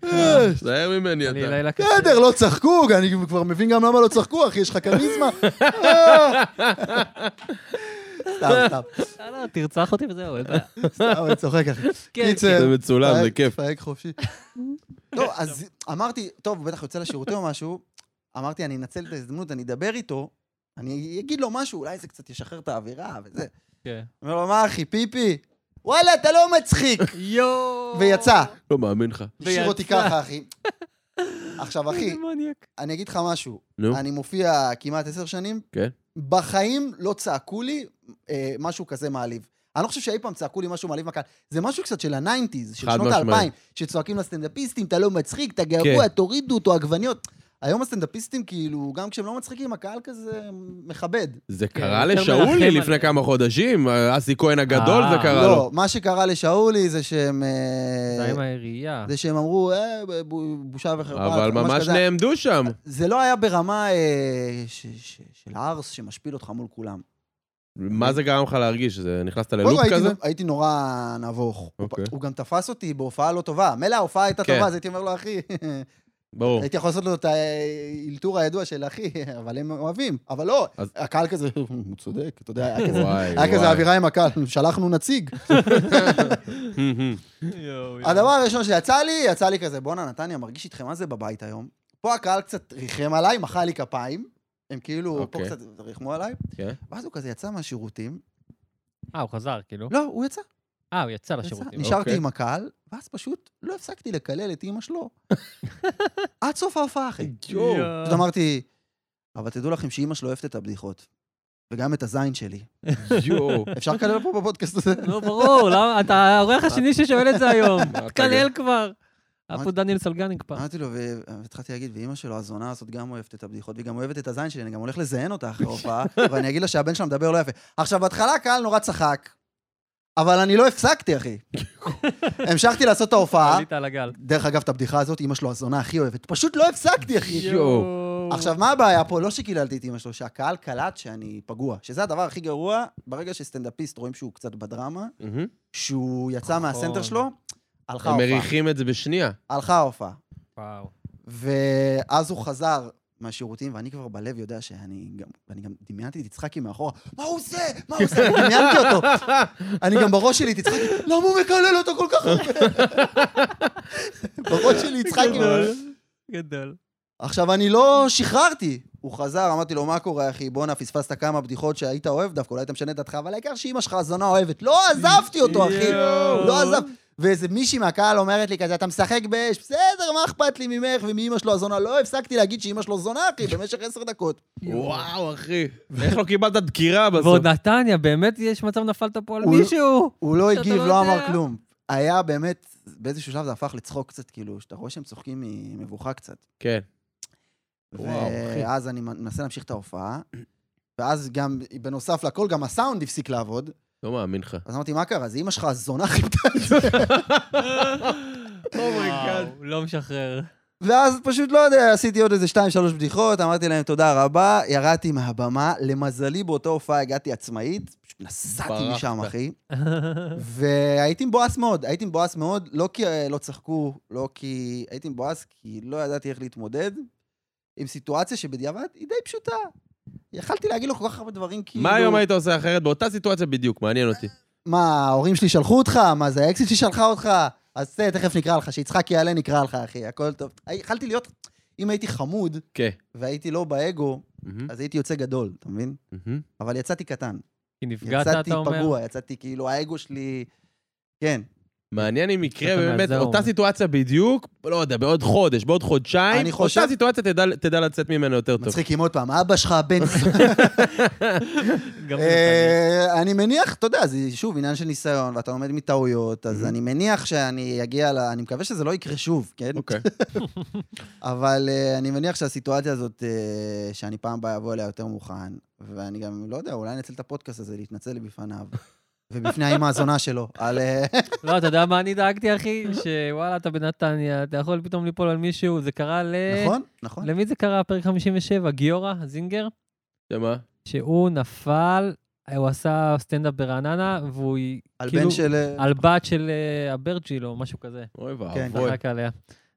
Speaker 2: תזהר ממני
Speaker 1: אני
Speaker 2: אתה.
Speaker 1: לילה קשה.
Speaker 3: בסדר, לא צחקו, אני כבר מבין גם למה לא צחקו, אחי, יש לך כריזמה. אה. סתם, סתם.
Speaker 1: לא, לא, תרצח אותי וזהו, אין בעיה.
Speaker 3: סתם, אני צוחק, אחי.
Speaker 1: כן,
Speaker 3: קיצר,
Speaker 2: זה מצולם, זה
Speaker 3: תפהק,
Speaker 2: כיף.
Speaker 3: תפהק חופשי. טוב, אז אמרתי, טוב, הוא בטח יוצא לשירותים או משהו. אמרתי, אני אנצל את ההזדמנות, אני אדבר איתו, אני אגיד לו משהו, אולי זה קצת ישחרר את האווירה וזה.
Speaker 1: כן.
Speaker 3: אומר לו, מה אחי, פיפי? וואלה, אתה לא מצחיק!
Speaker 1: יואו!
Speaker 3: ויצא.
Speaker 2: לא מאמין לך.
Speaker 3: השאיר אותי
Speaker 1: ויצא.
Speaker 3: ככה, אחי. עכשיו, אחי,
Speaker 1: איזה מניאק.
Speaker 3: אני אגיד לך משהו.
Speaker 2: נו.
Speaker 3: אני מופיע כמעט עשר שנים.
Speaker 2: כן.
Speaker 3: בחיים לא צעקו לי אה, משהו כזה מעליב. אני לא חושב שאי פעם צעקו לי משהו מעליב מהקהל. זה משהו קצת של הניינטיז, של
Speaker 2: חד
Speaker 3: שנות
Speaker 2: משמעית. כן.
Speaker 3: האלפיים, שצועקים לסטנדאפיסטים, אתה לא מצחיק, אתה גרוע, תורידו אותו, עגבניות. היום הסטנדאפיסטים, כאילו, גם כשהם לא מצחיקים, הקהל כזה מכבד.
Speaker 2: זה
Speaker 1: כן,
Speaker 2: קרה
Speaker 1: יותר
Speaker 2: לשאולי
Speaker 1: מרחם
Speaker 2: לפני
Speaker 1: עליהם.
Speaker 2: כמה חודשים, אסי כהן הגדול
Speaker 1: אה.
Speaker 2: זה קרה לו.
Speaker 3: לא, מה שקרה לשאולי זה שהם... אה,
Speaker 1: זה עם העירייה.
Speaker 3: זה שהם אמרו, אה, ב- ב- בושה וחרפה.
Speaker 2: אבל
Speaker 3: משהו
Speaker 2: ממש
Speaker 3: לא, כזה.
Speaker 2: נעמדו שם.
Speaker 3: זה לא היה ברמה אה, ש- ש- של ארס שמשפיל אותך מול כולם.
Speaker 2: מה זה גרם לך להרגיש? זה נכנסת
Speaker 3: קודם
Speaker 2: ללופ
Speaker 3: כל, הייתי
Speaker 2: כזה?
Speaker 3: נו- הייתי נורא נבוך. הוא פ-
Speaker 2: אוקיי.
Speaker 3: הוא גם תפס אותי בהופעה לא טובה. מילא ההופעה הייתה
Speaker 2: כן. אוקיי.
Speaker 3: טובה, אז הייתי אומר לו, אחי,
Speaker 2: ברור.
Speaker 3: הייתי יכול לעשות לו את האלתור הידוע של אחי, אבל הם אוהבים. אבל לא,
Speaker 2: אז-
Speaker 3: הקהל כזה, הוא צודק, אתה יודע, היה כזה-
Speaker 2: וואי,
Speaker 3: היה כזה
Speaker 2: וואי.
Speaker 3: אווירה עם הקהל, שלחנו נציג. הדבר הראשון שיצא לי, יצא לי כזה, בואנה, נתניה, מרגיש איתכם מה זה בבית היום. פה הקהל קצת ריחם עליי, מחא לי כפיים. הם כאילו, פה
Speaker 2: אוקיי.
Speaker 3: קצת ריחמו עליי.
Speaker 2: כן.
Speaker 3: ואז הוא כזה יצא מהשירותים.
Speaker 1: אה, הוא חזר, כאילו.
Speaker 3: לא, הוא יצא.
Speaker 1: אה, הוא יצא
Speaker 3: יצא,
Speaker 1: לשירותים.
Speaker 3: נשארתי
Speaker 2: אוקיי.
Speaker 3: עם הקהל, ואז פשוט לא הפסקתי לקלל את אימא שלו. עד סוף ההופעה, אחי.
Speaker 2: יואו.
Speaker 1: יואו.
Speaker 3: פשוט אמרתי, אבל תדעו לכם שאימא שלו אוהבת את הבדיחות. וגם את הזין שלי.
Speaker 2: יואו.
Speaker 3: אפשר לקלל פה בפודקאסט הזה?
Speaker 1: לא, ברור, למה? אתה האורח
Speaker 3: אה,
Speaker 1: השני ששואל את זה היום.
Speaker 2: אתה
Speaker 1: תקלל כבר. היה
Speaker 3: מה-
Speaker 1: פה דניאל סולגניק פעם.
Speaker 3: אמרתי לו, ו- והתחלתי להגיד, ואימא שלו, הזונה הזאת גם אוהבת את הבדיחות, והיא גם אוהבת את הזין שלי, אני גם הולך לזיין אותה אחרי ההופעה, ואני אגיד לה שהבן שלה מדבר לא יפה. עכשיו, בהתחלה הקהל נורא צחק, אבל אני לא הפסקתי, אחי. המשכתי לעשות את ההופעה.
Speaker 1: עלית על הגל.
Speaker 3: דרך אגב, את הבדיחה הזאת, אימא שלו הזונה הכי אוהבת. פשוט לא הפסקתי, אחי.
Speaker 1: יואו.
Speaker 3: עכשיו, מה הבעיה פה? לא שקיללתי את אימא שלו, שהקהל קלט שאני פגוע. שזה הדבר הכי גרוע, ברגע שסטנדאפיסט רואים שהוא קצת בדרמה,
Speaker 2: מהמם.
Speaker 3: שהוא יצא מהסנטר שלו, הלכה
Speaker 2: הם
Speaker 3: ההופעה.
Speaker 2: מריחים את זה בשנייה.
Speaker 3: הלכה ההופעה.
Speaker 1: וואו.
Speaker 3: ואז הוא חזר מהשירותים, ואני כבר בלב יודע שאני גם, ואני גם דמיינתי את יצחקי מאחורה, מה הוא עושה? מה הוא עושה? דמיינתי אותו. אני גם בראש שלי את יצחקי, למה הוא מקלל אותו כל כך הרבה? בראש שלי יצחקי.
Speaker 1: גדול. גדול.
Speaker 3: עכשיו, אני לא שחררתי. הוא חזר, אמרתי לו, מה קורה, אחי? בואנה, פספסת כמה בדיחות שהיית אוהב דווקא, אולי אתה משנה את דעתך, אבל העיקר שאימא שלך הזונה אוהבת. לא עזבתי אותו, אחי.
Speaker 1: יואו.
Speaker 3: לא עזב. ואיזה מישהי מהקהל אומרת לי כזה, אתה משחק באש, בסדר, מה אכפת לי ממך ומאימא שלו הזונה? לא הפסקתי להגיד שאימא שלו זונה, אחי, במשך עשר דקות.
Speaker 2: וואו, אחי. איך לא קיבלת דקירה בסוף?
Speaker 1: ועוד נתניה, באמת יש מצב נפלת פה על
Speaker 3: הוא-
Speaker 1: מישהו.
Speaker 3: הוא לא
Speaker 1: אתה
Speaker 3: הגיב,
Speaker 1: לא
Speaker 3: לא
Speaker 1: יודע.
Speaker 3: אמר כלום. היה באמת, באיזשהו שלב זה הפך לצחוק קצת, כאילו, שאתה רואה שהם צוחקים ממבוכה קצת.
Speaker 2: כן. וואו, אחי.
Speaker 3: ואז אני מנסה להמשיך את ההופעה, ואז גם, בנוסף לכל, גם הסאונד הפסיק לעבוד.
Speaker 2: לא מאמין לך.
Speaker 3: אז אמרתי, מה קרה? אז אימא שלך הזונה חיפתה את זה.
Speaker 2: Oh אומייגאד.
Speaker 1: וואו, לא משחרר.
Speaker 3: ואז פשוט לא יודע, עשיתי עוד איזה שתיים, שלוש בדיחות, אמרתי להם תודה רבה, ירדתי מהבמה, למזלי באותה הופעה הגעתי עצמאית, פשוט נסעתי
Speaker 2: ברחת.
Speaker 3: משם, אחי, והייתי מבואס מאוד, הייתי מבואס מאוד, לא כי אה, לא צחקו, לא כי... הייתי מבואס כי לא ידעתי איך להתמודד עם סיטואציה שבדיעבד היא די פשוטה. יכלתי להגיד לו כל כך הרבה דברים, כאילו...
Speaker 2: מה היום היית עושה אחרת? באותה סיטואציה בדיוק, מעניין אותי.
Speaker 3: מה, ההורים שלי שלחו אותך? מה, זה האקסיט ששלחה אותך? אז זה, תכף נקרא לך, שיצחק יעלה נקרא לך, אחי, הכל טוב. יכלתי להיות... אם הייתי חמוד,
Speaker 2: כן.
Speaker 3: והייתי לא באגו,
Speaker 2: מהמם,
Speaker 3: אז הייתי יוצא גדול, אתה מבין?
Speaker 2: מהמם.
Speaker 3: אבל יצאתי קטן.
Speaker 1: כי נפגעת,
Speaker 3: יצאתי
Speaker 1: אתה אומר? לא
Speaker 3: פגוע, יצאתי כאילו, האגו שלי... כן.
Speaker 2: מעניין אם יקרה
Speaker 1: אתה
Speaker 2: באמת
Speaker 1: מהזרום.
Speaker 2: אותה סיטואציה בדיוק, לא יודע, בעוד חודש, בעוד חודשיים,
Speaker 3: אני חושב-
Speaker 2: אותה סיטואציה תדע- תדע לצאת ממנה יותר טוב.
Speaker 3: מצחיק אם עוד פעם, אבא שלך, בן...
Speaker 1: לא גם בנתניה.
Speaker 3: אה, אני מניח, אתה יודע, זה שוב עניין של ניסיון, ואתה לומד מטעויות, אז אני מניח שאני אגיע ל... אני מקווה שזה לא יקרה שוב, כן?
Speaker 2: אוקיי.
Speaker 3: אבל אה, אני מניח שהסיטואציה הזאת, אה, שאני פעם הבאה אבוא אליה יותר מוכן, ואני גם, לא יודע, אולי אנצל את הפודקאסט הזה להתנצל בפניו, ובפני האמא הזונה שלו, על... אה,
Speaker 1: לא, אתה יודע מה אני דאגתי, אחי? שוואלה, אתה בנתניה, אתה יכול פתאום ליפול על מישהו. זה קרה ל...
Speaker 3: נכון? נכון?
Speaker 1: למי זה קרה? פרק 57, גיורא זינגר,
Speaker 2: שמה?
Speaker 1: שהוא נפל, הוא עשה סטנדאפ ברעננה, והוא
Speaker 3: על
Speaker 1: כאילו-
Speaker 3: בן של... אה,
Speaker 1: על בת של אה, אברג'יל או משהו כזה.
Speaker 2: אוי
Speaker 3: כן.
Speaker 2: ואבוי.
Speaker 1: צחק עליה.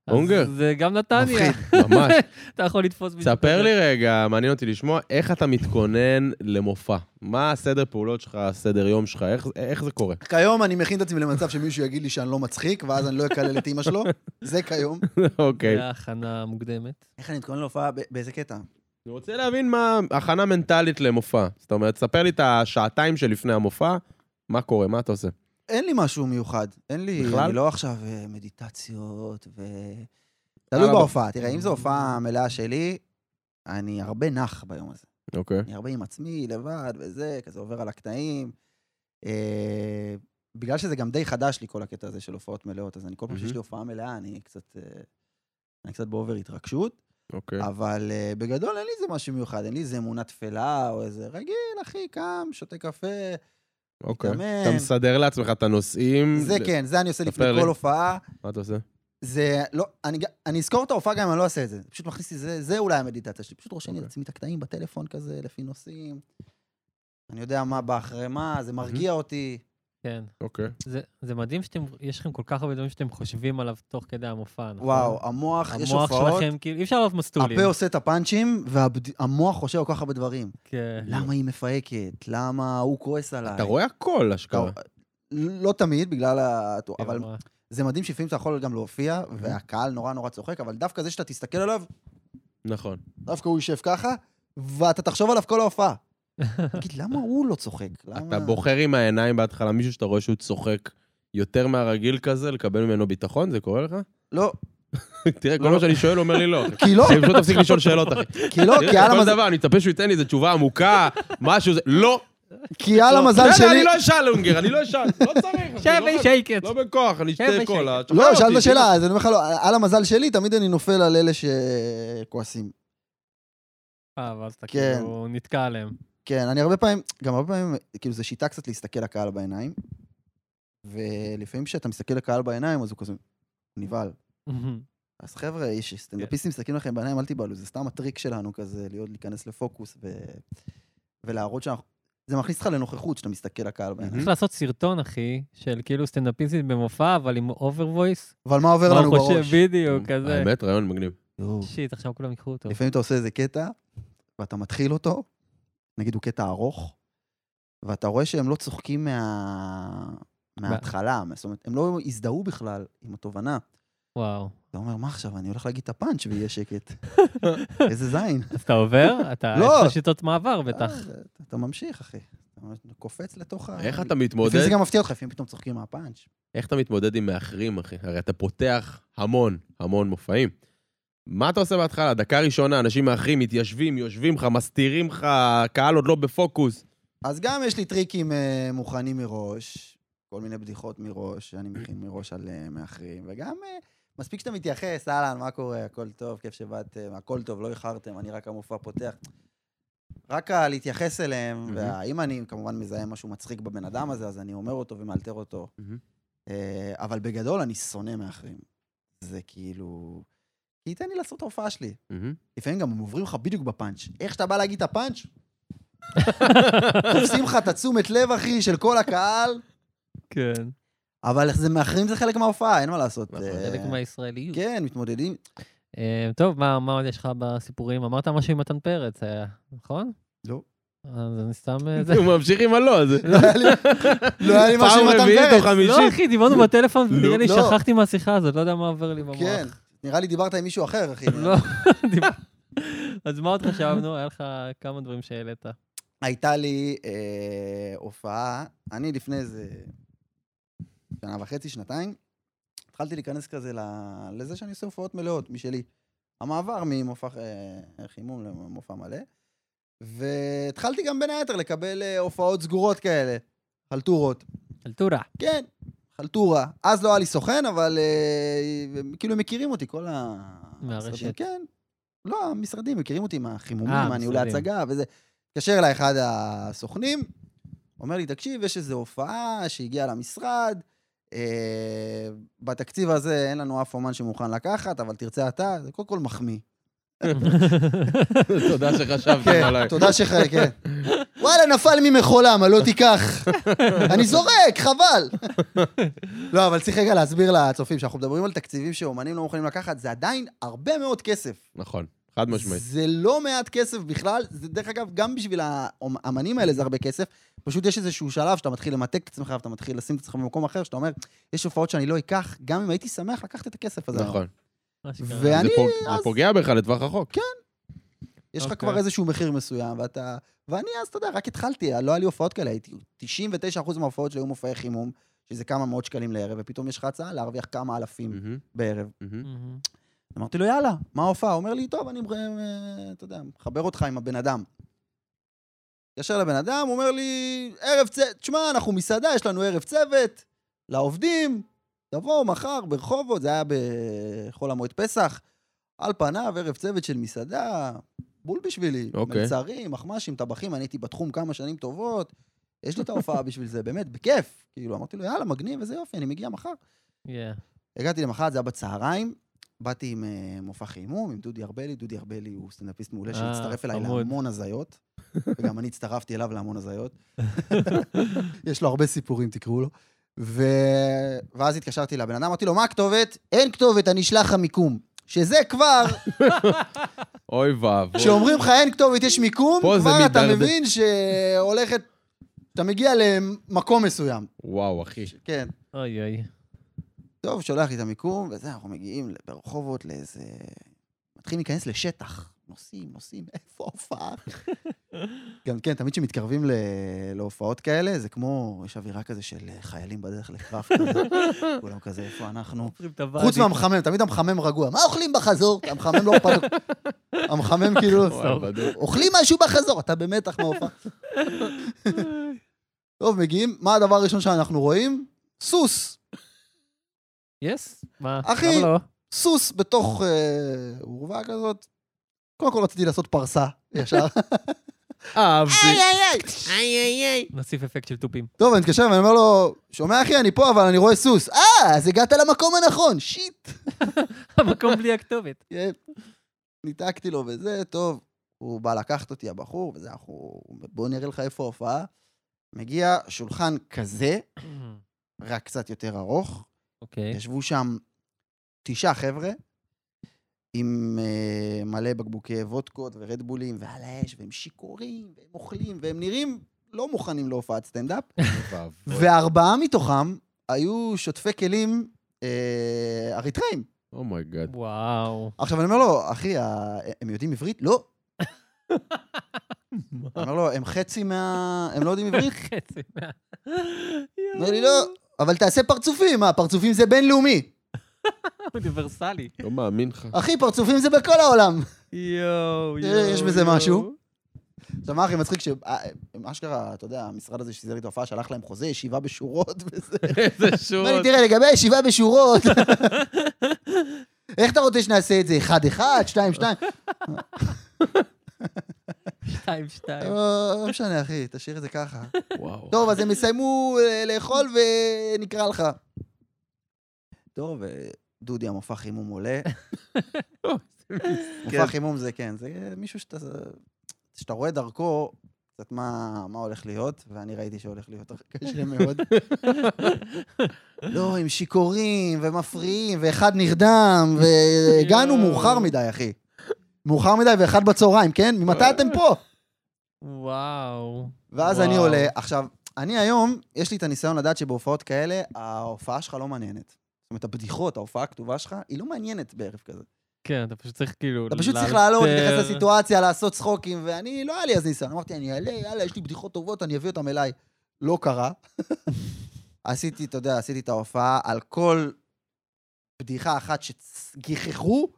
Speaker 1: אז
Speaker 2: אונגר.
Speaker 1: זה גם נתניה.
Speaker 3: מפחיד.
Speaker 2: ממש.
Speaker 1: אתה יכול לתפוס מישהו.
Speaker 2: ספר
Speaker 1: כזה.
Speaker 2: לי רגע, מעניין אותי לשמוע, איך אתה מתכונן למופע? מה הסדר פעולות שלך, הסדר יום שלך, איך- איך זה קורה?
Speaker 3: כיום אני מכין את עצמי למצב שמישהו יגיד לי שאני לא מצחיק, ואז אני לא אקלל את אימא שלו. זה כיום.
Speaker 2: אוקיי.
Speaker 1: זה ההכנה המוקדמת.
Speaker 3: איך אני מתכונן להופעה? ב- באיזה קטע?
Speaker 2: אני רוצה להבין מה הכנה מנטלית למופע. זאת אומרת, ספר לי את השעתיים שלפני המופע, מה קורה, מה אתה עושה?
Speaker 3: אין לי משהו מיוחד. אין לי...
Speaker 2: בכלל?
Speaker 3: אני לא עכשיו אה, מדיטציות ו...
Speaker 2: יאללה,
Speaker 3: תלוי
Speaker 2: בוא.
Speaker 3: בהופעה. תראה, אם זו הופעה מלאה שלי, אני הרבה נח ביום הזה.
Speaker 2: אוקיי.
Speaker 3: אני הרבה עם עצמי, לבד וזה, כזה עובר על הקטעים. אה, בגלל שזה גם די חדש לי, כל הקטע הזה של הופעות מלאות, אז אני כל פעם שיש לי
Speaker 2: מהמם.
Speaker 3: הופעה מלאה, אני קצת... אה, אני קצת באובר התרגשות.
Speaker 2: אוקיי.
Speaker 3: אבל אה, בגדול אין לי איזה משהו מיוחד, אין לי איזה אמונה תפלה או איזה רגיל, אחי, קם, שותה קפה.
Speaker 2: אוקיי.
Speaker 3: מתאמן.
Speaker 2: אתה מסדר לעצמך את הנושאים.
Speaker 3: זה
Speaker 2: ל-
Speaker 3: כן, זה אני עושה לפני
Speaker 2: ספר לי.
Speaker 3: כל הופעה.
Speaker 2: מה אתה עושה?
Speaker 3: זה לא, אני ג- אני אזכור את ההופעה גם אם אני לא אעשה את זה. פשוט מכניס לי, זה זה אולי המדיטציה שלי. פשוט רושם לי
Speaker 2: אוקיי.
Speaker 3: לעצמי את הקטעים בטלפון כזה, לפי נושאים. אני יודע מה בא אחרי מה, זה מרגיע אותי.
Speaker 1: כן.
Speaker 2: אוקיי.
Speaker 1: זה- זה מדהים שאתם, יש לכם כל כך הרבה דברים שאתם חושבים עליו תוך כדי המופע, נכון?
Speaker 3: וואו, המוח, יש
Speaker 1: המוח
Speaker 3: הופעות,
Speaker 1: שלכם, כאילו, אי אפשר לעלות מסטולים.
Speaker 3: הפה עושה את הפאנצ'ים, והמוח חושב כל כך הרבה דברים.
Speaker 1: כן.
Speaker 3: למה היא מפהקת? למה הוא כועס עליי?
Speaker 2: אתה רואה הכל, אשכרה.
Speaker 3: אתה- לא תמיד, בגלל ה... אבל
Speaker 1: כן, מה?
Speaker 3: זה מדהים שלפעמים אתה יכול גם להופיע, והקהל נורא נורא צוחק, אבל דווקא זה שאתה תסתכל עליו,
Speaker 2: נכון.
Speaker 3: דווקא הוא יישב ככה, ואתה תחשוב עליו כל ההופעה. תגיד, למה הוא לא צוחק? למה...
Speaker 2: אתה בוחר עם העיניים בהתחלה מישהו שאתה רואה שהוא צוחק יותר מהרגיל כזה, לקבל ממנו ביטחון? זה קורה לך?
Speaker 3: לא,
Speaker 2: תראה, כל מה שאני שואל אומר לי לא.
Speaker 3: כי לא,
Speaker 2: אני פשוט תפסיק לשאול שאלות, אחי.
Speaker 3: כי לא, כי על
Speaker 2: כל
Speaker 3: המזל-
Speaker 2: דבר, אני מצפה שהוא ייתן לי איזה תשובה עמוקה, משהו, זה... לא!
Speaker 3: כי על
Speaker 2: לא.
Speaker 3: המזל
Speaker 2: בסדר,
Speaker 3: שלי...
Speaker 2: אני לא אשאל, אונגר, אני לא אשאל. לא צריך, אחי. לא
Speaker 1: שבי
Speaker 2: ב-
Speaker 1: שייקט.
Speaker 2: לא בכוח, אני
Speaker 1: שב
Speaker 2: אשתה
Speaker 1: בשקט.
Speaker 2: קולה.
Speaker 3: לא,
Speaker 2: תשחרר
Speaker 3: שאלת
Speaker 2: אותי, כאילו.
Speaker 3: שאלה, אז אני אומר לך, לא, על המזל שלי, תמיד אני נופל על אלה שכועסים.
Speaker 1: אה, ואז אתה
Speaker 3: כן.
Speaker 1: כאילו נתקע עליהם.
Speaker 3: כן, אני הרבה פעמים, גם הרבה פעמים, כאילו, זו שיטה קצת להסתכל לקהל בעיניים, ולפעמים כשאתה מסתכל לקהל בעיניים, אז הוא כזה נבהל. אז חבר'ה, יש סטנדאפיסטים מסתכלים לכם בעיניים, אל תיבהלו, זה סתם הטריק שלנו כזה, להיות, להיכנס לפוקוס ו... ולהראות שאנחנו... זה מכניס אותך לנוכחות כשאתה מסתכל לקהל בעיניים.
Speaker 1: צריך לעשות סרטון, אחי, של כאילו סטנדאפיסטית במופע, אבל עם אובר וויס.
Speaker 3: אבל מה עובר
Speaker 1: מה
Speaker 3: לנו
Speaker 1: הוא חושב
Speaker 3: בראש?
Speaker 2: כאילו.
Speaker 1: בדיוק, כזה.
Speaker 2: האמת, רעיון מגניב.
Speaker 3: יואו.
Speaker 1: שיט, עכשיו כולם יקחו אותו.
Speaker 3: לפעמים אתה עושה איזה קטע, ואתה מתחיל אותו, נגיד הוא קטע ארוך, ואתה רואה שהם לא צוחקים מה... מההתחלה, זאת אומרת, הם לא הזדהו בכלל עם התובנה.
Speaker 1: וואו.
Speaker 3: אתה אומר, מה עכשיו, אני הולך להגיד את הפאנץ' ויהיה שקט. איזה זין.
Speaker 1: אז אתה עובר? אתה,
Speaker 3: לא.
Speaker 1: יש לך שיטות מעבר בטח.
Speaker 3: אה, זה- אתה ממשיך, אחי. אתה ממש קופץ לתוך ה...
Speaker 2: איך אתה
Speaker 3: לפעמים
Speaker 2: מתמודד?
Speaker 3: זה גם מפתיע אותך, לפעמים פתאום צוחקים מהפאנץ'.
Speaker 2: איך אתה מתמודד עם מאחרים, אחי? הרי אתה פותח המון, המון מופעים. מה אתה עושה בהתחלה? דקה ראשונה, אנשים מאחרים, מתיישבים, יושבים לך, מסתירים לך, הקהל עוד לא בפוקוס.
Speaker 3: אז גם יש לי טריקים אה, מוכנים מראש, כל מיני בדיחות מראש, שאני מכין מראש על אה, מאחרים, וגם אה, מספיק שאתה מתייחס, אהלן, מה קורה, הכל טוב, כיף שבאתם, הכל טוב, לא איחרתם, אני רק המופע פותח. רק ה- להתייחס אליהם,
Speaker 2: Mhm.
Speaker 3: ואם אני כמובן מזהה משהו מצחיק בבן אדם הזה, אז אני אומר אותו ומאלתר אותו. אה, אבל בגדול אני שונא מאחרים. זה כאילו... כי תן לי לעשות את ההופעה שלי.
Speaker 2: מהמם.
Speaker 3: לפעמים גם הם עוברים לך בדיוק בפאנץ'. איך שאתה בא להגיד את הפאנץ', תופסים לך את התשומת לב, אחי, של כל הקהל,
Speaker 1: כן.
Speaker 3: אבל זה מאחרים זה חלק מההופעה, אין מה לעשות.
Speaker 2: נכון,
Speaker 3: אה,
Speaker 1: חלק מהישראליות.
Speaker 3: כן, מתמודדים.
Speaker 1: אה, טוב, מה מה עוד יש לך בסיפורים? אמרת משהו עם מתן פרץ היה, נכון?
Speaker 3: לא.
Speaker 1: אז אני סתם... אה, זה-
Speaker 2: הוא ממשיך עם הלא, זה...
Speaker 3: לא היה לי- לא היה לי משהו עם
Speaker 2: פעם
Speaker 3: מתן
Speaker 2: רביעית או
Speaker 3: פרץ.
Speaker 1: לא,
Speaker 2: חמישית.
Speaker 1: אחי, דיברנו בטלפון, ונראה לי
Speaker 3: לא.
Speaker 1: שכחתי מהשיחה הזאת, לא יודע מה עובר לי במוח.
Speaker 3: כן, נראה לי דיברת עם מישהו אחר, אחי.
Speaker 1: לא. אז מה עוד חשבנו? היה לך כמה דברים שהעלית.
Speaker 3: הייתה לי אה, הופעה, אני לפני איזה שנה וחצי, שנתיים, התחלתי להיכנס כזה ל- לזה שאני עושה הופעות מלאות משלי. המעבר ממופע אה, חימום למופע מלא. והתחלתי גם בין היתר לקבל אה, הופעות סגורות כאלה, חלטורות.
Speaker 1: אלטורה.
Speaker 3: כן, חלטורה. אז לא היה לי סוכן, אבל אה, הם כאילו מכירים אותי, כל ה...
Speaker 1: מהרשת.
Speaker 3: המשרדים. כן. לא, המשרדים מכירים אותי מהחימומים,
Speaker 1: אה,
Speaker 3: מהניהולי
Speaker 1: המשרדים.
Speaker 3: הצגה וזה. התקשר אליי אחד הסוכנים, אומר לי, תקשיב, יש איזו הופעה שהגיעה למשרד, אה, בתקציב הזה אין לנו אף אומן שמוכן לקחת, אבל תרצה אתה, זה קודם כל מחמיא.
Speaker 2: תודה שחשבתם
Speaker 3: לא. כן,
Speaker 2: עליי.
Speaker 3: תודה שח... כן. וואלה, נפל ממכולה, מה לא תיקח. אני זורק, חבל. לא, אבל צריך רגע להסביר לצופים, שאנחנו מדברים על תקציבים שאומנים לא מוכנים לקחת, זה עדיין הרבה מאוד כסף.
Speaker 2: נכון, חד משמעית.
Speaker 3: זה לא מעט כסף בכלל, זה דרך אגב, גם בשביל האמנים האלה זה הרבה כסף. פשוט יש איזשהו שלב שאתה מתחיל למתק את עצמך ואתה מתחיל לשים את עצמך במקום אחר, שאתה אומר, יש הופעות שאני לא אקח, גם אם הייתי שמח לקחת את הכסף הזה.
Speaker 2: נכון.
Speaker 1: מה שקרה.
Speaker 3: ו- ואני
Speaker 2: זה פוג- זה
Speaker 3: אז- כן.
Speaker 2: פוגע בך לטווח רחוק.
Speaker 3: יש לך
Speaker 1: אוקיי.
Speaker 3: כבר איזשהו מחיר מסוים, ואתה... ואני אז, אתה יודע, רק התחלתי, לא היה לי הופעות כאלה, הייתי 99% מההופעות שלי היו מופעי חימום, שזה כמה מאות שקלים לערב, ופתאום יש לך הצעה להרוויח כמה אלפים
Speaker 2: מהמם,
Speaker 3: בערב.
Speaker 2: מהמם.
Speaker 1: מהמם.
Speaker 3: אמרתי לו, יאללה, מה ההופעה? הוא אומר לי, טוב, אני, מר- אה, אתה יודע, מחבר אותך עם הבן אדם. התקשר לבן אדם, הוא אומר לי, ערב צוות, תשמע, אנחנו מסעדה, יש לנו ערב צוות, לעובדים, תבואו מחר ברחובות, זה היה בחול המועד פסח. על פניו, ערב צוות של מסעדה, בול בשבילי.
Speaker 2: אוקיי.
Speaker 3: מלצרים, מחמ"שים, טבחים, אני הייתי בתחום כמה שנים טובות, יש לי את ההופעה בשביל זה, באמת, בכיף. כאילו, אמרתי לו, יאללה, מגניב, איזה יופי, אני מגיע מחר.
Speaker 1: Yeah.
Speaker 3: הגעתי למחרת, זה היה בצהריים, באתי עם אה, מופע חימום, עם דודי ארבלי. דודי ארבלי הוא סטנדאפיסט מעולה
Speaker 1: אה,
Speaker 3: שהצטרף אליי
Speaker 1: חמוד.
Speaker 3: להמון הזיות, וגם אני הצטרפתי אליו להמון הזיות. יש לו הרבה סיפורים, תקראו לו. ו... ואז התקשרתי לבן אדם, אמרתי לו, מה הכתובת? אין כתובת, אני אשלח לך מיקום. שזה כבר,
Speaker 2: אוי ואבוי.
Speaker 3: כשאומרים לך אין כתובת, יש מיקום,
Speaker 2: פה זה
Speaker 3: כבר אתה
Speaker 2: מידרדר.
Speaker 3: מבין שהולכת... אתה מגיע למקום מסוים.
Speaker 2: וואו, אחי.
Speaker 3: כן.
Speaker 1: אוי אוי.
Speaker 3: טוב, שולח לי את המיקום, וזה, אנחנו מגיעים ברחובות לאיזה... מתחילים להיכנס לשטח. נוסעים, נוסעים, איפה ההופעה? גם כן, תמיד כשמתקרבים ל- להופעות כאלה, זה כמו, יש אווירה כזה של אה, חיילים בדרך לקרב, כזה. כולם כזה, איפה אנחנו?
Speaker 1: עוצרים את הוואדי.
Speaker 3: חוץ מהמחמם, תמיד המחמם רגוע. מה אוכלים בחזור? כי המחמם לא אכפת לו. המחמם כאילו,
Speaker 2: וואי, בדיוק.
Speaker 3: אוכלים משהו בחזור, אתה במתח מההופעה. טוב, מגיעים, מה הדבר הראשון שאנחנו רואים? סוס.
Speaker 1: יס? מה?
Speaker 3: אחי.
Speaker 1: למה לא?
Speaker 3: סוס בתוך אה, אורווה כזאת. קודם כל רציתי לעשות פרסה, ישר.
Speaker 2: אהבתי.
Speaker 1: נוסיף אפקט של תופים.
Speaker 3: טוב, אני מתקשר ואני אומר לו, שומע אחי, אני פה, אבל אני רואה סוס. אה, אז הגעת למקום הנכון, שיט.
Speaker 1: המקום בלי הכתובת.
Speaker 3: כן. ניתקתי לו וזה, טוב, הוא בא לקחת אותי, הבחור, וזה, אנחנו... בוא נראה לך איפה ההופעה. מגיע שולחן כזה, רק קצת יותר ארוך.
Speaker 1: אוקיי.
Speaker 3: ישבו שם תשעה חבר'ה, עם אה, מלא בקבוקי וודקות ורדבולים ועל האש, והם שיכורים, והם אוכלים, והם נראים לא מוכנים להופעת סטנדאפ.
Speaker 2: ואבוי.
Speaker 3: וארבעה מתוכם היו שוטפי כלים אה, אריתראים.
Speaker 2: Oh אומייגאד.
Speaker 1: וואו.
Speaker 3: עכשיו, אני אומר לו, אחי, ה- הם יודעים עברית? לא. אני אומר לו, הם חצי מה... הם לא יודעים עברית?
Speaker 1: חצי מה...
Speaker 3: הוא אומר לי, לא, אבל תעשה פרצופים, מה, פרצופים זה בינלאומי.
Speaker 1: אוניברסלי.
Speaker 2: לא מאמין לך.
Speaker 3: אחי, פרצופים זה בכל העולם.
Speaker 1: יואו,
Speaker 3: תראה,
Speaker 1: יואו.
Speaker 3: אה, יש בזה
Speaker 1: יואו.
Speaker 3: משהו. עכשיו, מה הכי מצחיק, שהם אשכרה, אתה יודע, המשרד הזה שסידר לי את ההופעה, שלח להם חוזה, ישיבה בשורות וזה.
Speaker 2: איזה
Speaker 3: אומר לי, תראה, לגבי הישיבה בשורות, איך אתה רוצה שנעשה את זה? אחד-אחד, שתיים-שתיים?
Speaker 1: שתיים, שתיים.
Speaker 3: לא לא משנה, אחי, תשאיר את זה ככה.
Speaker 2: וואו.
Speaker 3: טוב, אז הם יסיימו אה, לאכול ונקרא לך. טוב, אה, דודי, המופע חימום עולה. מופע חימום זה כן, זה מישהו שאתה שאתה רואה דרכו קצת מה מה הולך להיות, ואני ראיתי שהולך להיות קשה מאוד. לא, עם שיכורים ומפריעים, ואחד נרדם, והגענו
Speaker 1: יואו.
Speaker 3: מאוחר מדי, אחי. מאוחר מדי ואחד בצהריים, כן? ממתי אתם פה?
Speaker 1: וואו.
Speaker 3: ואז אני
Speaker 1: וואו.
Speaker 3: עולה. עכשיו, אני היום, יש לי את הניסיון לדעת שבהופעות כאלה, ההופעה שלך לא מעניינת. זאת אומרת, הבדיחות, ההופעה הכתובה שלך, היא לא מעניינת בערב כזה.
Speaker 1: כן, אתה פשוט צריך כאילו...
Speaker 3: אתה פשוט צריך לעלות, להתייחס
Speaker 1: לאלתר.
Speaker 3: לסיטואציה, לעשות צחוקים, ואני, לא היה לי אז ניסיון. אמרתי, אני אעלה, יאללה, יש לי בדיחות טובות, אני אביא אותן אליי. לא קרה. עשיתי, אתה יודע, עשיתי את ההופעה על כל בדיחה אחת שגיחכו,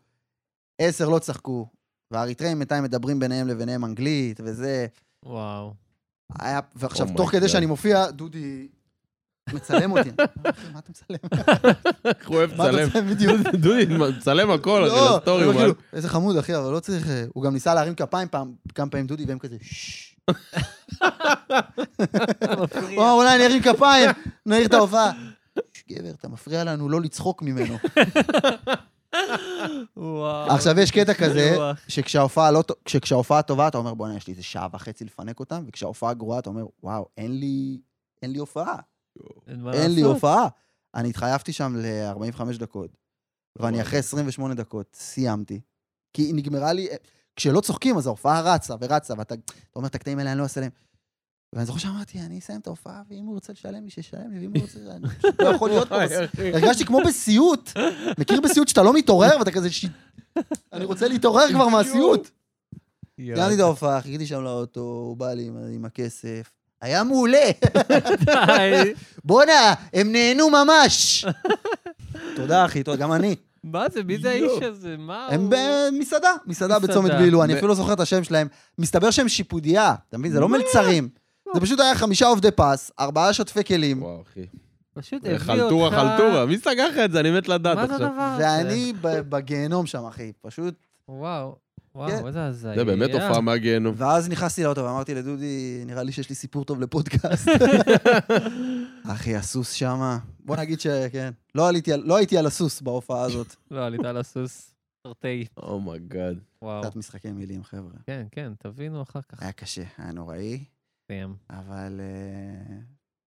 Speaker 3: עשר לא צחקו. והאריתראים בינתיים מדברים ביניהם לביניהם אנגלית, וזה...
Speaker 1: וואו.
Speaker 3: היה, ועכשיו,
Speaker 2: Oh my
Speaker 3: תוך כדי
Speaker 2: God.
Speaker 3: שאני מופיע, דודי מצלם אותי. אחי, מה אתה מצלם?
Speaker 2: איך הוא אוהב
Speaker 3: מה אתה
Speaker 2: לצלם.
Speaker 3: מצלם בדיוק?
Speaker 2: דודי, צלם הכל, אחי,
Speaker 3: לא,
Speaker 2: לסטורי,
Speaker 3: אבל
Speaker 2: מה?
Speaker 3: כאילו, איזה חמוד, אחי, אבל לא צריך... אה, הוא גם ניסה להרים כפיים פעם- כמה פעמים דודי, והם כזה, "ששש". הוא אמר, אולי אני ארים כפיים, נעיר את ההופעה. "ששש, גבר, אתה מפריע לנו לא לצחוק ממנו.
Speaker 1: וואו.
Speaker 3: עכשיו, יש קטע כזה,
Speaker 1: רוח.
Speaker 3: שכשההופעה לא טו- כשכשההופעה טובה, אתה אומר, בוא'נה, יש לי איזה שעה וחצי לפנק אותם, וכשההופעה גרועה, אתה אומר, וואו, אין לי... אין לי הופעה.
Speaker 1: אין מה
Speaker 3: אין לי
Speaker 1: לעשות.
Speaker 3: הופעה. אני התחייבתי שם ל-45 דקות, ואני אחרי 28 דקות סיימתי. כי היא נגמרה לי... כשלא צוחקים, אז ההופעה רצה ורצה, ואתה אתה אומר, את הקטעים האלה אני לא אעשה להם. ואני זוכר שאמרתי, אני אסיים את ההופעה, ואם הוא רוצה לשלם לי, שישלם לי, ואם הוא רוצה... אני פשוט לא יכול להיות פה.
Speaker 2: וואי,
Speaker 3: בס-
Speaker 2: אחי.
Speaker 3: הרגשתי כמו בסיוט. מכיר בסיוט שאתה לא מתעורר, ואתה כזה... "ש- אני רוצה להתעורר כבר מהסיוט.
Speaker 1: יואו.
Speaker 3: סיימתי את ההופעה, חיכיתי שם לאוטו, הוא בא לי עם- עם הכסף. היה מעולה.
Speaker 1: די.
Speaker 3: בואנה, הם נהנו ממש. תודה, אחי, תודה, גם אני.
Speaker 1: מה זה? מי זה
Speaker 2: יואו.
Speaker 1: האיש הזה? מה הוא?
Speaker 3: הם במסעדה, מסעדה בצומת
Speaker 1: מסעדה.
Speaker 3: בילו, אני
Speaker 2: ב-
Speaker 3: אפילו לא זוכר את השם שלהם. מסתבר שהם שיפודיה, אתה מבין? זה לא
Speaker 1: מה?
Speaker 3: מלצרים. זה פשוט היה חמישה עובדי פס, ארבעה שוטפי כלים,
Speaker 2: וואו, אחי.
Speaker 1: פשוט הביא אותך...
Speaker 2: חלטורה, חלטורה. מי סגר לך את זה? אני מת לדעת
Speaker 1: מה אה, זה
Speaker 2: עכשיו.
Speaker 1: הדבר הזה?
Speaker 3: ואני ב- בגיהנום שם, אחי, פשוט.
Speaker 1: וואו.
Speaker 3: כן.
Speaker 1: וואו, איזה הזיה. אה.
Speaker 2: זה באמת הופעה מהגיהנום.
Speaker 3: ואז נכנסתי לאוטו ואמרתי לדודי, נראה לי שיש לי סיפור טוב לפודקאסט. אחי, הסוס שמה. בוא נגיד שכן. לא עליתי על- לא הייתי על הסוס בהופעה הזאת.
Speaker 1: לא, עלית על הסוס. תרתי.
Speaker 2: Oh אומייגאד.
Speaker 1: וואו.
Speaker 3: קצת משחקי מילים, חבר'ה.
Speaker 1: כן, כן, תבינו אחר כך.
Speaker 3: היה קשה, היה נוראי.
Speaker 1: סיים.
Speaker 3: אבל אה,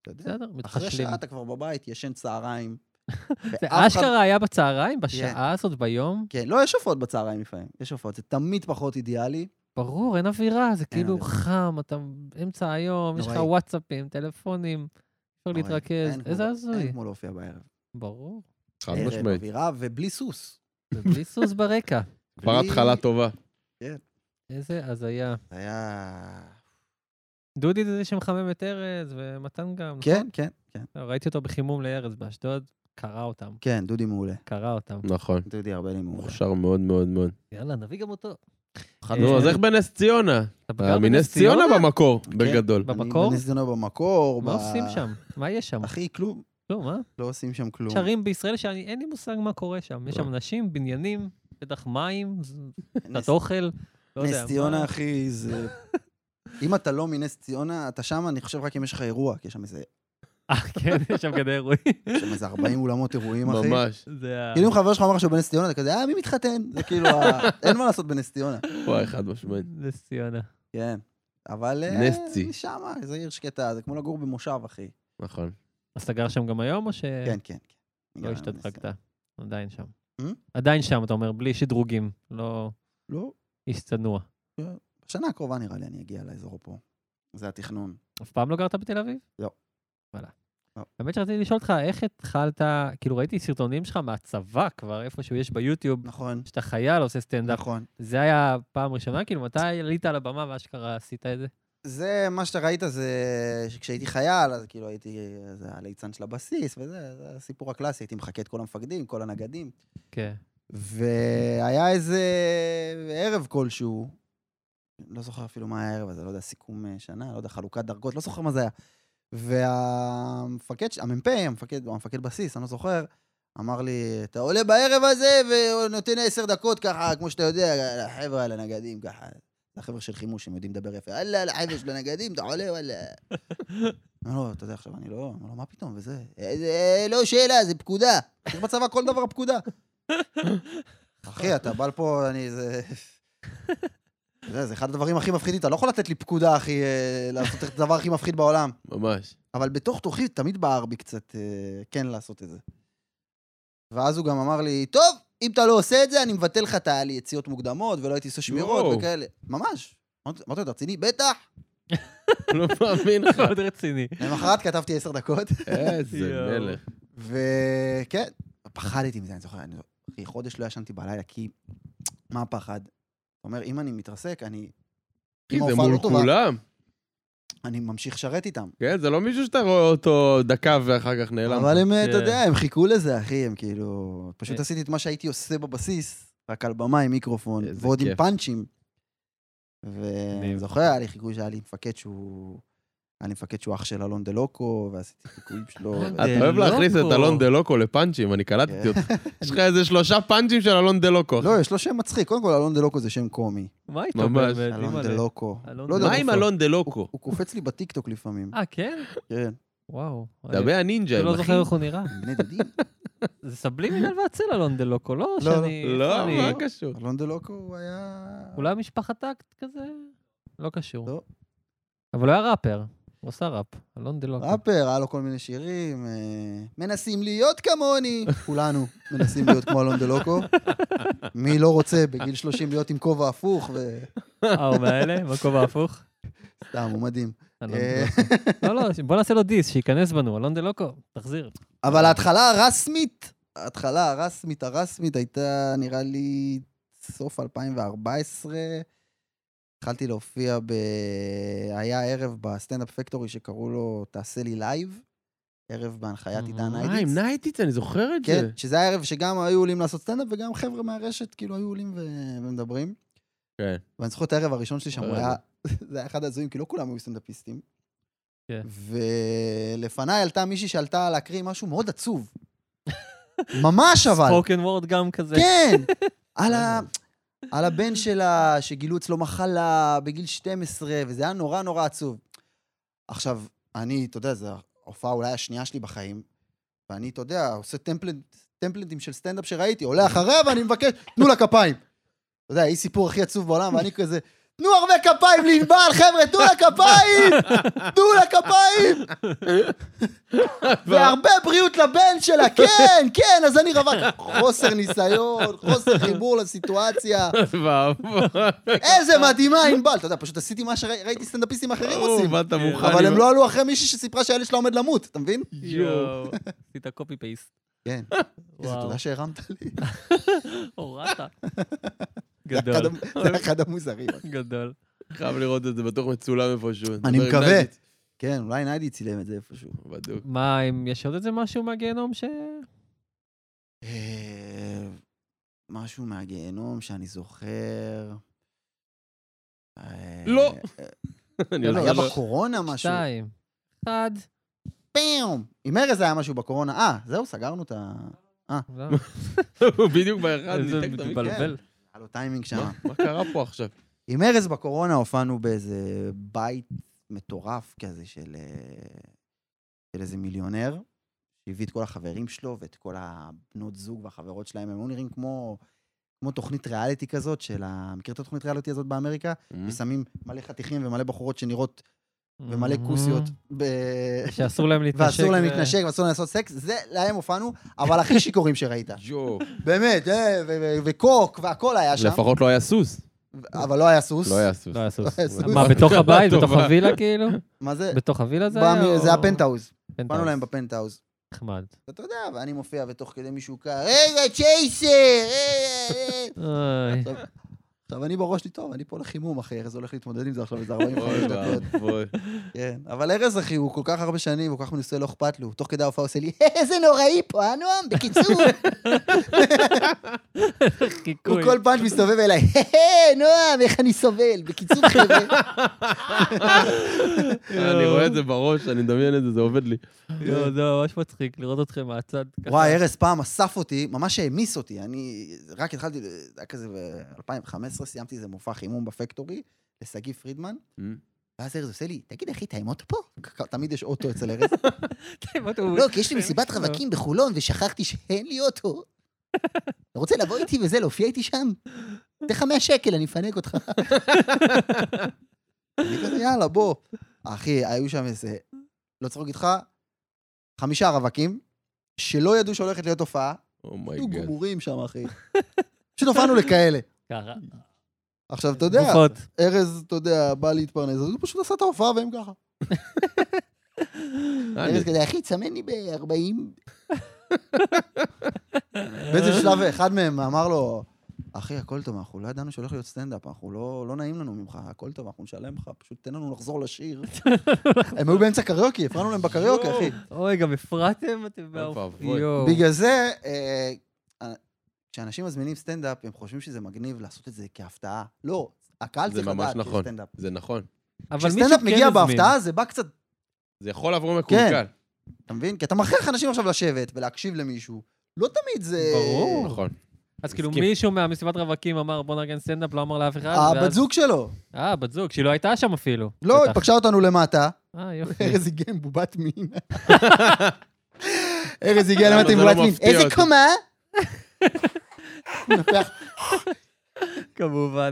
Speaker 3: אתה יודע,
Speaker 1: בסדר,
Speaker 3: אחרי
Speaker 1: מתחשלים.
Speaker 3: שעה אתה כבר בבית, ישן צהריים.
Speaker 1: זה
Speaker 3: ואף אחד-
Speaker 1: אשכרה היה בצהריים? בשעה הזאת ביום?
Speaker 3: כן, לא, יש הופעות בצהריים לפעמים, יש הופעות, זה תמיד פחות אידיאלי.
Speaker 1: ברור, אין אווירה, זה
Speaker 3: אין
Speaker 1: כאילו
Speaker 3: אווירה.
Speaker 1: חם, אתה באמצע היום, יש לך
Speaker 3: נוראי.
Speaker 1: וואטסאפים, טלפונים, אפשר
Speaker 3: נוראי.
Speaker 1: להתרכז,
Speaker 3: אין כמו- לא-
Speaker 1: איזה הזוי.
Speaker 3: אין כמו להופיע בערב.
Speaker 1: ברור.
Speaker 2: חד
Speaker 3: ערב,
Speaker 2: משמעית.
Speaker 3: אווירה ובלי סוס.
Speaker 1: זה בלי סוס ברקע.
Speaker 2: כבר
Speaker 3: בלי-
Speaker 2: התחלה טובה.
Speaker 1: איזה הזיה.
Speaker 3: זה היה...
Speaker 1: דודי זה זה שמחמם את ארז, ומתן גם,
Speaker 3: כן, כן, כן,
Speaker 1: נכון? ראיתי אותו בחימום לארז באשדוד, קרע אותם,
Speaker 3: כן, דודי מעולה.
Speaker 1: קרע אותם.
Speaker 2: נכון.
Speaker 3: דודי ארבלי מעולה.
Speaker 2: מוכשר מאוד מאוד מאוד.
Speaker 1: יאללה, נביא גם אותו.
Speaker 3: חד
Speaker 1: אה,
Speaker 2: נו, אז איך בנס ציונה?
Speaker 1: אתה בגר
Speaker 2: אה, מנס ציונה במקור,
Speaker 3: כן.
Speaker 2: בגדול.
Speaker 3: אני
Speaker 1: במקור?
Speaker 3: בנס ציונה במקור.
Speaker 1: מה
Speaker 3: ב-
Speaker 1: עושים שם? מה יש שם?
Speaker 3: אחי, כלום.
Speaker 1: כלום, אה?
Speaker 3: לא עושים שם כלום.
Speaker 1: יש ערים בישראל שאני, אין לי מושג מה קורה שם. יש שם אנשים, בניינים, בטח מים, ז- קצת
Speaker 3: לא. נס-
Speaker 1: אוכל, לא יודע.
Speaker 3: נס ציונה,
Speaker 1: מה-
Speaker 3: אחי, זה... אם אתה לא מנס ציונה, אתה שם, אני חושב רק אם יש לך אירוע, כי יש שם איזה-
Speaker 1: אה, כן, יש שם גני אירועים.
Speaker 3: יש שם איזה 40 אולמות אירועים, אחי.
Speaker 2: ממש.
Speaker 1: זה ה...
Speaker 3: כאילו אם חבר שלך אמר שהוא בנס ציונה, אתה כזה, אה, מי מתחתן? זה כאילו, ה- אין מה לעשות בנס ציונה.
Speaker 2: וואי, חד משמעית.
Speaker 1: נס ציונה.
Speaker 3: כן. אבל... אה,
Speaker 2: נס צי.
Speaker 3: שמה, זה עיר שקטה, זה כמו לגור במושב, אחי.
Speaker 2: נכון.
Speaker 1: אז אתה גר שם גם היום, או ש...
Speaker 3: כן, כן, כן. אני
Speaker 1: לא
Speaker 3: גם בנס ציונה.
Speaker 1: השתדרגת? עדיין שם.
Speaker 3: Hmm?
Speaker 1: עדיין שם, אתה אומר, בלי שדרוגים. לא
Speaker 3: לא.
Speaker 1: איש צנוע.
Speaker 3: בשנה הקרובה נראה לי אני אגיע לאזור פה. זה התכנון.
Speaker 1: אף פעם לא גרת בתל אביב?
Speaker 3: לא.
Speaker 1: וואלה.
Speaker 3: לא.
Speaker 1: האמת שרציתי לשאול אותך, איך התחלת, כאילו ראיתי סרטונים שלך מהצבא כבר, איפשהו יש ביוטיוב,
Speaker 3: נכון.
Speaker 1: שאתה חייל עושה סטנדאפ.
Speaker 3: נכון.
Speaker 1: זה היה פעם ראשונה? כאילו, מתי עלית על הבמה ואשכרה עשית את זה?
Speaker 3: זה, מה שאתה ראית זה שכשהייתי חייל, אז כאילו הייתי אה, זה הליצן של הבסיס וזה, זה הסיפור הקלאסי, הייתי מחקה את כל המפקדים, כל הנגדים.
Speaker 1: כן.
Speaker 3: והיה איזה ערב כלשהו, לא זוכר אפילו מה היה הערב הזה, לא יודע, סיכום אה, שנה, לא יודע, חלוקת דרגות, לא זוכר מה זה היה. והמפקד, ש- המ"פ, המפקד, או המפקד בסיס, אני לא זוכר, אמר לי, אתה עולה בערב הזה ונותן עשר דקות ככה, כמו שאתה יודע, לחבר'ה, לנגדים, ככה. זה החבר'ה של חימוש, הם יודעים לדבר יפה. אללה, לחבר'ה של הנגדים, אתה עולה, וואלה. אמר לו, אתה יודע, עכשיו אני לא, אמר לו, מה פתאום, וזה. "אה, זה לא שאלה, זה פקודה. צריך בצבא כל דבר פקודה. אחי, אתה בא לפה, אני, זה... אתה יודע, זה אחד הדברים הכי מפחידים, אתה לא יכול לתת לי פקודה, אחי, אה, לעשות את הדבר הכי מפחיד בעולם.
Speaker 2: ממש.
Speaker 3: אבל בתוך תוכי תמיד בער בי קצת אה, כן לעשות את זה. ואז הוא גם אמר לי, טוב, אם אתה לא עושה את זה, אני מבטל לך את היציאות מוקדמות, ולא הייתי עושה שמירות
Speaker 2: יואו.
Speaker 3: וכאלה. ממש. אמרתי, אמרתי לו, אתה רציני? בטח.
Speaker 2: לא מאמין לך.
Speaker 1: מאוד רציני.
Speaker 3: למחרת כתבתי עשר דקות,
Speaker 2: איזה
Speaker 1: יואו.
Speaker 2: מלך.
Speaker 3: וכן, פחדתי מזה, אני זוכר, אני אחי, חודש לא ישנתי בלילה, כי מה הפחד? אתה אומר, אם אני מתרסק, אני...
Speaker 2: כי
Speaker 3: אם
Speaker 2: זה
Speaker 3: ההופעה
Speaker 2: מול
Speaker 3: לא טובה,
Speaker 2: כולם.
Speaker 3: אני ממשיך לשרת איתם.
Speaker 2: כן, זה לא מישהו שאתה רואה אותו דקה ואחר כך נעלם.
Speaker 3: אבל הם, אתה
Speaker 1: כן.
Speaker 3: יודע, הם חיכו לזה, אחי, הם כאילו... פשוט
Speaker 1: אה.
Speaker 3: עשיתי את מה שהייתי עושה בבסיס, רק על במה עם מיקרופון,
Speaker 2: איזה
Speaker 3: ועוד עם
Speaker 2: כיף.
Speaker 3: פאנצ'ים.
Speaker 1: מדהים.
Speaker 3: ואני זוכר, היה לי חיקוי שהיה לי מפקד שהוא... היה לי מפקד שהוא אח של אלון דה לוקו, ועשיתי חיקויים שלו.
Speaker 1: אלון
Speaker 2: אתה אוהב
Speaker 1: דלוקו.
Speaker 2: להכניס את אלון דה לוקו לפאנצ'ים, אני קלטתי אותך. יש לך איזה שלושה פאנצ'ים של אלון דה לוקו.
Speaker 3: כן. לא, יש לו שם מצחיק. קודם כל, אלון דה לוקו זה שם קומי.
Speaker 1: מה איתו
Speaker 2: ממש.
Speaker 1: באמת?
Speaker 3: אלון
Speaker 1: אימא'לה.
Speaker 3: דה לוקו.
Speaker 1: אלון
Speaker 3: לא יודע,
Speaker 1: דה
Speaker 2: מה עם
Speaker 1: לוקו.
Speaker 2: אלון דה
Speaker 3: הוא
Speaker 2: לוקו?
Speaker 3: הוא קופץ לי בטיקטוק לפעמים.
Speaker 1: אה, כן?
Speaker 3: כן.
Speaker 1: וואו.
Speaker 2: דבי הנינג'ה,
Speaker 1: אני לא
Speaker 2: כן, אחי.
Speaker 1: זוכר איך הוא נראה.
Speaker 3: בני דודים.
Speaker 1: זה סבלימינל והצל אלון דה לוקו, לא
Speaker 3: לא,
Speaker 1: שאני... איפה
Speaker 2: לא,
Speaker 1: אני-
Speaker 2: מה קשור?
Speaker 3: אלון דה לוקו הוא היה...
Speaker 1: אולי משפחת אקט כזה? לא קשור.
Speaker 3: לא.
Speaker 1: אבל הוא היה ראפר. הוא עשה ראפ. אלון דה לוקו.
Speaker 3: ראפר, היה לו כל מיני שירים. אה, מנסים להיות כמוני. כולנו מנסים להיות כמו אלון דה לוקו. מי לא רוצה בגיל 30 להיות עם כובע הפוך, וסתם,
Speaker 1: אה, הוא מאלה? בכובע הפוך?
Speaker 3: הוא מדהים.
Speaker 1: אלון דה לוקו. לא, לא, בוא נעשה לו דיס, שייכנס בנו. אלון דה לוקו, תחזיר.
Speaker 3: אבל ההתחלה הרסמית, ההתחלה הרסמית הרסמית הייתה, נראה לי, סוף 2014. התחלתי להופיע ב... היה ערב בסטנדאפ פקטורי שקראו לו "תעשה לי לייב", ערב בהנחיית עידן
Speaker 2: אה, עם
Speaker 3: היידיץ.
Speaker 2: נייטיץ, אני זוכר את
Speaker 3: כן,
Speaker 2: זה.
Speaker 3: שזה היה ערב שגם היו עולים לעשות סטנדאפ וגם חבר'ה מהרשת כאילו היו עולים ו... ומדברים.
Speaker 2: כן.
Speaker 3: ואני זוכר את הערב הראשון שלי שם, הוא
Speaker 2: וואלה.
Speaker 3: היה... זה היה אחד ההזויים, כי לא כולם היו סטנדאפיסטים.
Speaker 1: כן.
Speaker 3: ולפניי עלתה מישהי שעלתה להקריא משהו מאוד עצוב. ממש אבל.
Speaker 1: ספוקן וורד גם כזה.
Speaker 3: כן! על ה... על הבן שלה, שגילו אצלו מחלה בגיל 12, וזה היה נורא נורא עצוב. עכשיו, אני, אתה יודע, זו ההופעה אולי השנייה שלי בחיים, ואני, אתה יודע, עושה טמפלט, טמפלטים של סטנדאפ שראיתי, עולה אחריה ואני מבקש, תנו לה כפיים. אתה יודע, היא סיפור הכי עצוב בעולם, ואני כזה, תנו הרבה כפיים לענבל, חבר'ה, תנו לה כפיים! תנו לה כפיים! והרבה בריאות לבן שלה, כן, כן, אז אני רווק. חוסר ניסיון, חוסר חיבור לסיטואציה.
Speaker 2: ואבוי.
Speaker 3: איזה מדהימה ענבל. אתה יודע, פשוט עשיתי מה שראיתי סטנדאפיסטים אחרים עושים.
Speaker 2: באת
Speaker 1: אה,
Speaker 2: מוכן.
Speaker 3: אבל
Speaker 2: עם-
Speaker 3: הם לא עלו אחרי מישהי שסיפרה שהילד שלה עומד למות, אתה מבין?
Speaker 1: יואו. עשית קופי פייסט.
Speaker 3: כן. איזה
Speaker 1: וואו.
Speaker 3: תודה שהרמת לי.
Speaker 1: הורדת.
Speaker 3: זה אחד
Speaker 1: גדול.
Speaker 3: המ- זה אחד המוזרים.
Speaker 1: גדול.
Speaker 2: חייב לראות את זה, בטוח מצולם איפשהו.
Speaker 3: אני
Speaker 2: דבר עם
Speaker 3: מקווה.
Speaker 2: ניידיץ.
Speaker 3: כן, אולי ניידי צילם את זה איפשהו.
Speaker 2: בדוק.
Speaker 1: מה, אם יש עוד איזה משהו מהגיהנום ש...
Speaker 3: אה, משהו מהגיהנום שאני זוכר. אה,
Speaker 2: לא.
Speaker 3: אה,
Speaker 2: אני
Speaker 1: לא,
Speaker 2: יודע
Speaker 3: היה
Speaker 1: לא.
Speaker 3: בקורונה משהו.
Speaker 1: שתיים. אחד.
Speaker 3: פעם! עם ארז היה משהו בקורונה. אה, זהו, סגרנו את ה...
Speaker 1: לא,
Speaker 2: הוא בדיוק באחד,
Speaker 1: איזה
Speaker 2: ניתק את המיקרופון.
Speaker 1: מתבלבל.
Speaker 3: היה לו טיימינג שם.
Speaker 2: מה- מה קרה פה עכשיו?
Speaker 3: עם ארז בקורונה הופענו באיזה בית מטורף כזה של, אה, של איזה מיליונר, שהביא את כל החברים שלו ואת כל הבנות זוג והחברות שלהם, הם היו נראים כמו, כמו תוכנית ריאליטי כזאת של ה... מכיר את התוכנית ריאליטי הזאת באמריקה? ושמים מלא חתיכים ומלא בחורות שנראות ומלא כוסיות, ב...
Speaker 1: Mm-hmm. שאסור להם להתנשק.
Speaker 3: ואסור להם
Speaker 1: ו-
Speaker 3: להתנשק ואסור להם לעשות סקס, זה להם הופענו, אבל הכי שיכורים שראית.
Speaker 2: ג'ו.
Speaker 3: באמת, אה, ו- ו- וקוק והכל היה שם,
Speaker 2: לפחות לא היה סוס.
Speaker 3: אבל לא היה סוס.
Speaker 2: לא היה סוס.
Speaker 1: לא, היה סוס.
Speaker 3: לא היה סוס.
Speaker 1: מה, בתוך הבית? בתוך
Speaker 2: טובה.
Speaker 1: הווילה כאילו?
Speaker 3: מה זה?
Speaker 1: בתוך הווילה זה היה?
Speaker 3: במ-
Speaker 1: או-
Speaker 3: זה הפנטהאוז,
Speaker 1: פנטהאוז.
Speaker 3: באנו להם בפנטהאוז.
Speaker 1: נחמד.
Speaker 3: אתה יודע, ואני מופיע ותוך כדי מישהו קרא, רגע, צ'ייסר! אה, אה, אה."
Speaker 1: אוי.
Speaker 3: עכשיו- עכשיו, אני בראש שלי, טוב, אני פה לחימום, אחי, ארז הולך להתמודד עם זה עכשיו איזה 45
Speaker 2: אוי
Speaker 3: דקות.
Speaker 2: ואבוי.
Speaker 3: כן, אבל ארז, אחי, הוא כל כך הרבה שנים, הוא כל כך מנוסה, לא אכפת לו. תוך כדי ההופעה הוא עושה לי, איזה נוראי פה, אה, נועם? בקיצור, הוא
Speaker 1: חיקוי.
Speaker 3: כל פעם מסתובב אליי, "אה, נועם, איך אני סובל? בקיצור, חבר'ה.
Speaker 2: אני רואה את זה בראש, אני מדמיין את זה, זה עובד לי.
Speaker 1: לא, זה ממש מצחיק לראות אתכם מהצד. ככה.
Speaker 3: וואי, ארז פעם אסף אותי, ממש העמיס אותי. אני רק התחלתי, זה היה כזה ב-2015, סיימתי איזה מופע חימום בפקטורי, לשגיא פרידמן, ואז ארז עושה לי, תגיד, אחי, אתה עם אוטו פה? כ- תמיד יש אוטו אצל ארז.
Speaker 1: הוא-
Speaker 3: לא, כי יש לי מסיבת רווקים בחולון, ושכחתי שאין לי אוטו. אתה רוצה לבוא איתי וזה, להופיע איתי שם? תן לך 100 שקל, אני אפנק אותך. אני כזה, יאללה, בוא. אחי, היו שם איזה, לא צריך להגיד לך, חמישה רווקים, שלא ידעו שהולכת להיות הופעה,
Speaker 2: Oh
Speaker 3: היו
Speaker 2: אומייגאד.
Speaker 3: גמורים שם, אחי. פשוט הופענו לכאלה.
Speaker 1: ככה.
Speaker 3: עכשיו, אתה יודע,
Speaker 1: גופות.
Speaker 3: ארז, אתה יודע, בא להתפרנס, אז הוא פשוט עשה את ההופעה והם ככה. ארז כזה, אחי, תסמן לי ב-40. באיזה שלב אחד מהם אמר לו, אחי, הכל טוב, אנחנו לא ידענו שהולך להיות סטנדאפ, אנחנו לא, לא נעים לנו ממך, הכל טוב, אנחנו נשלם לך, פשוט תן לנו לחזור לשיר. הם היו באמצע קריוקי, הפרענו להם בקריוקי, אחי.
Speaker 1: אוי, גם הפרעתם? אתם
Speaker 2: אוי
Speaker 1: באופ-
Speaker 2: ואבוי.
Speaker 1: יואו.
Speaker 3: בגלל זה, אה, אה, כשאנשים מזמינים סטנדאפ, הם חושבים שזה מגניב לעשות את זה כהפתעה. לא, הקהל
Speaker 2: זה
Speaker 3: צריך
Speaker 2: ממש
Speaker 3: לדעת שיש
Speaker 2: נכון.
Speaker 3: סטנדאפ.
Speaker 2: זה נכון.
Speaker 1: אבל מישהו
Speaker 3: כשסטנדאפ
Speaker 1: כן
Speaker 3: מגיע
Speaker 1: הזמין.
Speaker 3: בהפתעה, זה בא קצת,
Speaker 2: זה יכול לעבור מקולקל.
Speaker 3: אתה מבין? כי אתה מכריח אנשים עכשיו לשבת ולהקשיב למישהו. לא תמיד זה...
Speaker 1: ברור.
Speaker 2: נכון.
Speaker 1: אז כאילו
Speaker 2: מסכים.
Speaker 1: מישהו מהמסיבת רווקים אמר, בוא נארגן סטנדאפ, לא אמר לאף אחד.
Speaker 3: הבת
Speaker 1: ואז-
Speaker 3: זוג שלו.
Speaker 1: אה, הבת זוג, שהיא לא הייתה שם אפילו.
Speaker 3: לא, היא
Speaker 1: בטח.
Speaker 3: פגשה אותנו למטה.
Speaker 1: אה, יופי.
Speaker 3: ארז הגיע עם בובת מין. ארז הגיע
Speaker 2: למה
Speaker 3: למטה עם
Speaker 2: זה לא
Speaker 3: בובת מין.
Speaker 2: מפתיע
Speaker 3: איזה
Speaker 2: אותי?"
Speaker 3: קומה? נפח.
Speaker 1: כמובן.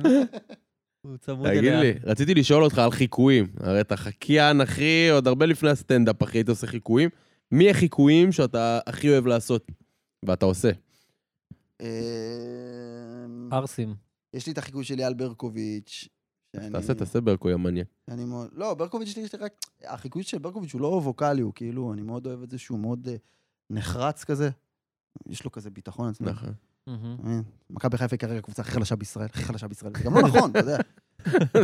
Speaker 1: הוא צמוד אליה.
Speaker 2: תגיד לי, רציתי לשאול אותך על חיקויים. הרי אתה חקיין, אחי, עוד הרבה לפני הסטנדאפ, אחי, היית עושה חיקויים. מי החיקויים שאתה הכי אוהב לעשות? ואתה עושה.
Speaker 3: אמ,
Speaker 1: ערסים.
Speaker 3: יש לי את החיקוי של אייל ברקוביץ'. שאני-
Speaker 2: תעשה, תעשה ברקוי המניאק.
Speaker 3: אני מאוד... לא, ברקוביץ' יש לי- יש לי רק... החיקוי של ברקוביץ' הוא לא ווקאלי, הוא כאילו, אני מאוד אוהב את זה שהוא מאוד אה, נחרץ כזה. יש לו כזה ביטחון עצמי.
Speaker 2: נכון.
Speaker 1: מהמם.
Speaker 3: אתה מבין? מכבי חיפה היא כרגע הקבוצה הכי חלשה בישראל, הכי חלשה בישראל. זה גם לא נכון, אתה יודע.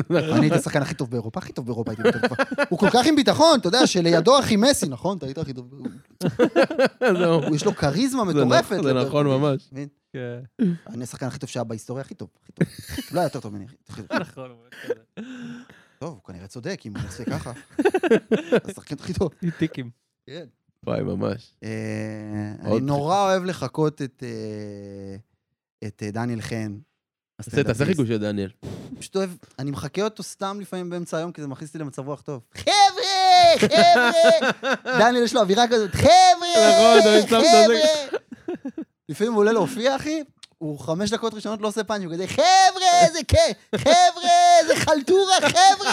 Speaker 2: נכון.
Speaker 3: אני הייתי השחקן הכי טוב באירופה, הכי טוב באירופה הייתי בתקופה. הוא כל כך עם ביטחון, אתה יודע, שלידו אחי מסי, נכון? אתה היית הכי טוב.
Speaker 2: זהו.
Speaker 3: הוא- יש לו כריזמה
Speaker 2: זה נכון,
Speaker 3: מטורפת.
Speaker 2: זה נכון ממש.
Speaker 3: מבין?
Speaker 1: כן,
Speaker 3: אני השחקן הכי טוב שהיה בהיסטוריה, הכי טוב, הכי טוב. לא היה יותר טוב ממני. הכי טוב.
Speaker 1: נכון. הוא אומר כזה.
Speaker 3: טוב, הוא כנראה צודק, אם הוא עושה ככה. השחקן הכי טוב.
Speaker 1: עם טיקים.
Speaker 3: כן.
Speaker 2: וואי, ממש.
Speaker 3: אה, אני
Speaker 2: עוד-
Speaker 3: נורא אוהב לחקות את אה, את אה, דניאל חן.
Speaker 2: תעשה, תעשה חיקוי של דניאל.
Speaker 3: פשוט אוהב, אני מחקה אותו סתם לפעמים באמצע היום, כי זה מכניס אותי למצב רוח טוב. חבר'ה, חבר'ה! דניאל יש לו אווירה כזאת,
Speaker 2: נכון,
Speaker 3: חבר'ה,
Speaker 2: אבל שמת את זה.
Speaker 3: חבר'ה! לפעמים הוא עולה להופיע, אחי, הוא חמש דקות ראשונות לא עושה פאנץ', הוא כזה, חבר'ה, איזה כיף, חבר'ה, איזה חלטורה, חבר'ה!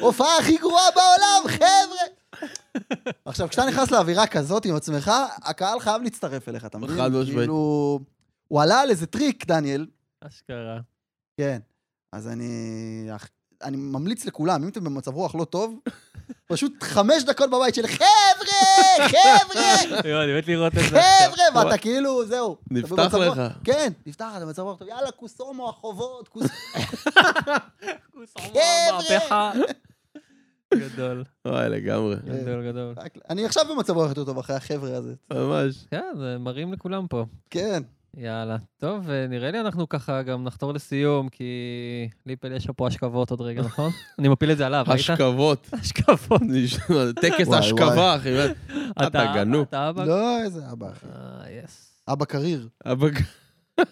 Speaker 3: הופעה הכי גרועה בעולם, חבר'ה! עכשיו, כשאתה נכנס לאווירה כזאת עם עצמך, הקהל חייב להצטרף אליך, אתה מבין?
Speaker 2: חד משמעית.
Speaker 3: כאילו, הוא עלה על איזה טריק, דניאל,
Speaker 1: אשכרה.
Speaker 3: כן. אז אני... אני ממליץ לכולם, אם אתם במצב רוח לא טוב, פשוט חמש דקות בבית של חבר'ה, חבר'ה,
Speaker 1: יואו, אני מת לראות את זה עכשיו.
Speaker 3: חבר'ה, ואתה כאילו, זהו. אתה
Speaker 2: נפתח
Speaker 3: במצב רוח-
Speaker 2: לך.
Speaker 3: כן, נפתח, אתה במצב רוח טוב, יאללה, כוסומו, החובות, כוס...
Speaker 1: הוא סמור
Speaker 3: חבר'ה.
Speaker 1: מהפכה. גדול,
Speaker 2: וואי, לגמרי.
Speaker 1: גדול, גדול.
Speaker 3: רק- אני עכשיו במצב רוח יותר טוב אחרי החבר'ה הזה.
Speaker 2: ממש.
Speaker 1: כן, זה מראים לכולם פה.
Speaker 3: כן.
Speaker 1: יאללה. טוב, אה, נראה לי אנחנו ככה גם נחתור לסיום, כי ליפל יש לו פה השכבות עוד רגע, נכון? אני מפיל את זה עליו, ראית?
Speaker 2: השכבות.
Speaker 1: השכבות.
Speaker 2: נשמע, טקס
Speaker 3: וואי,
Speaker 2: השכבה, אחי.
Speaker 1: אתה אבא,
Speaker 2: גנוב.
Speaker 1: אתה אבא?
Speaker 3: לא, איזה אבא, אחי.
Speaker 1: אה, יס.
Speaker 3: אבא קריר.
Speaker 2: הבג-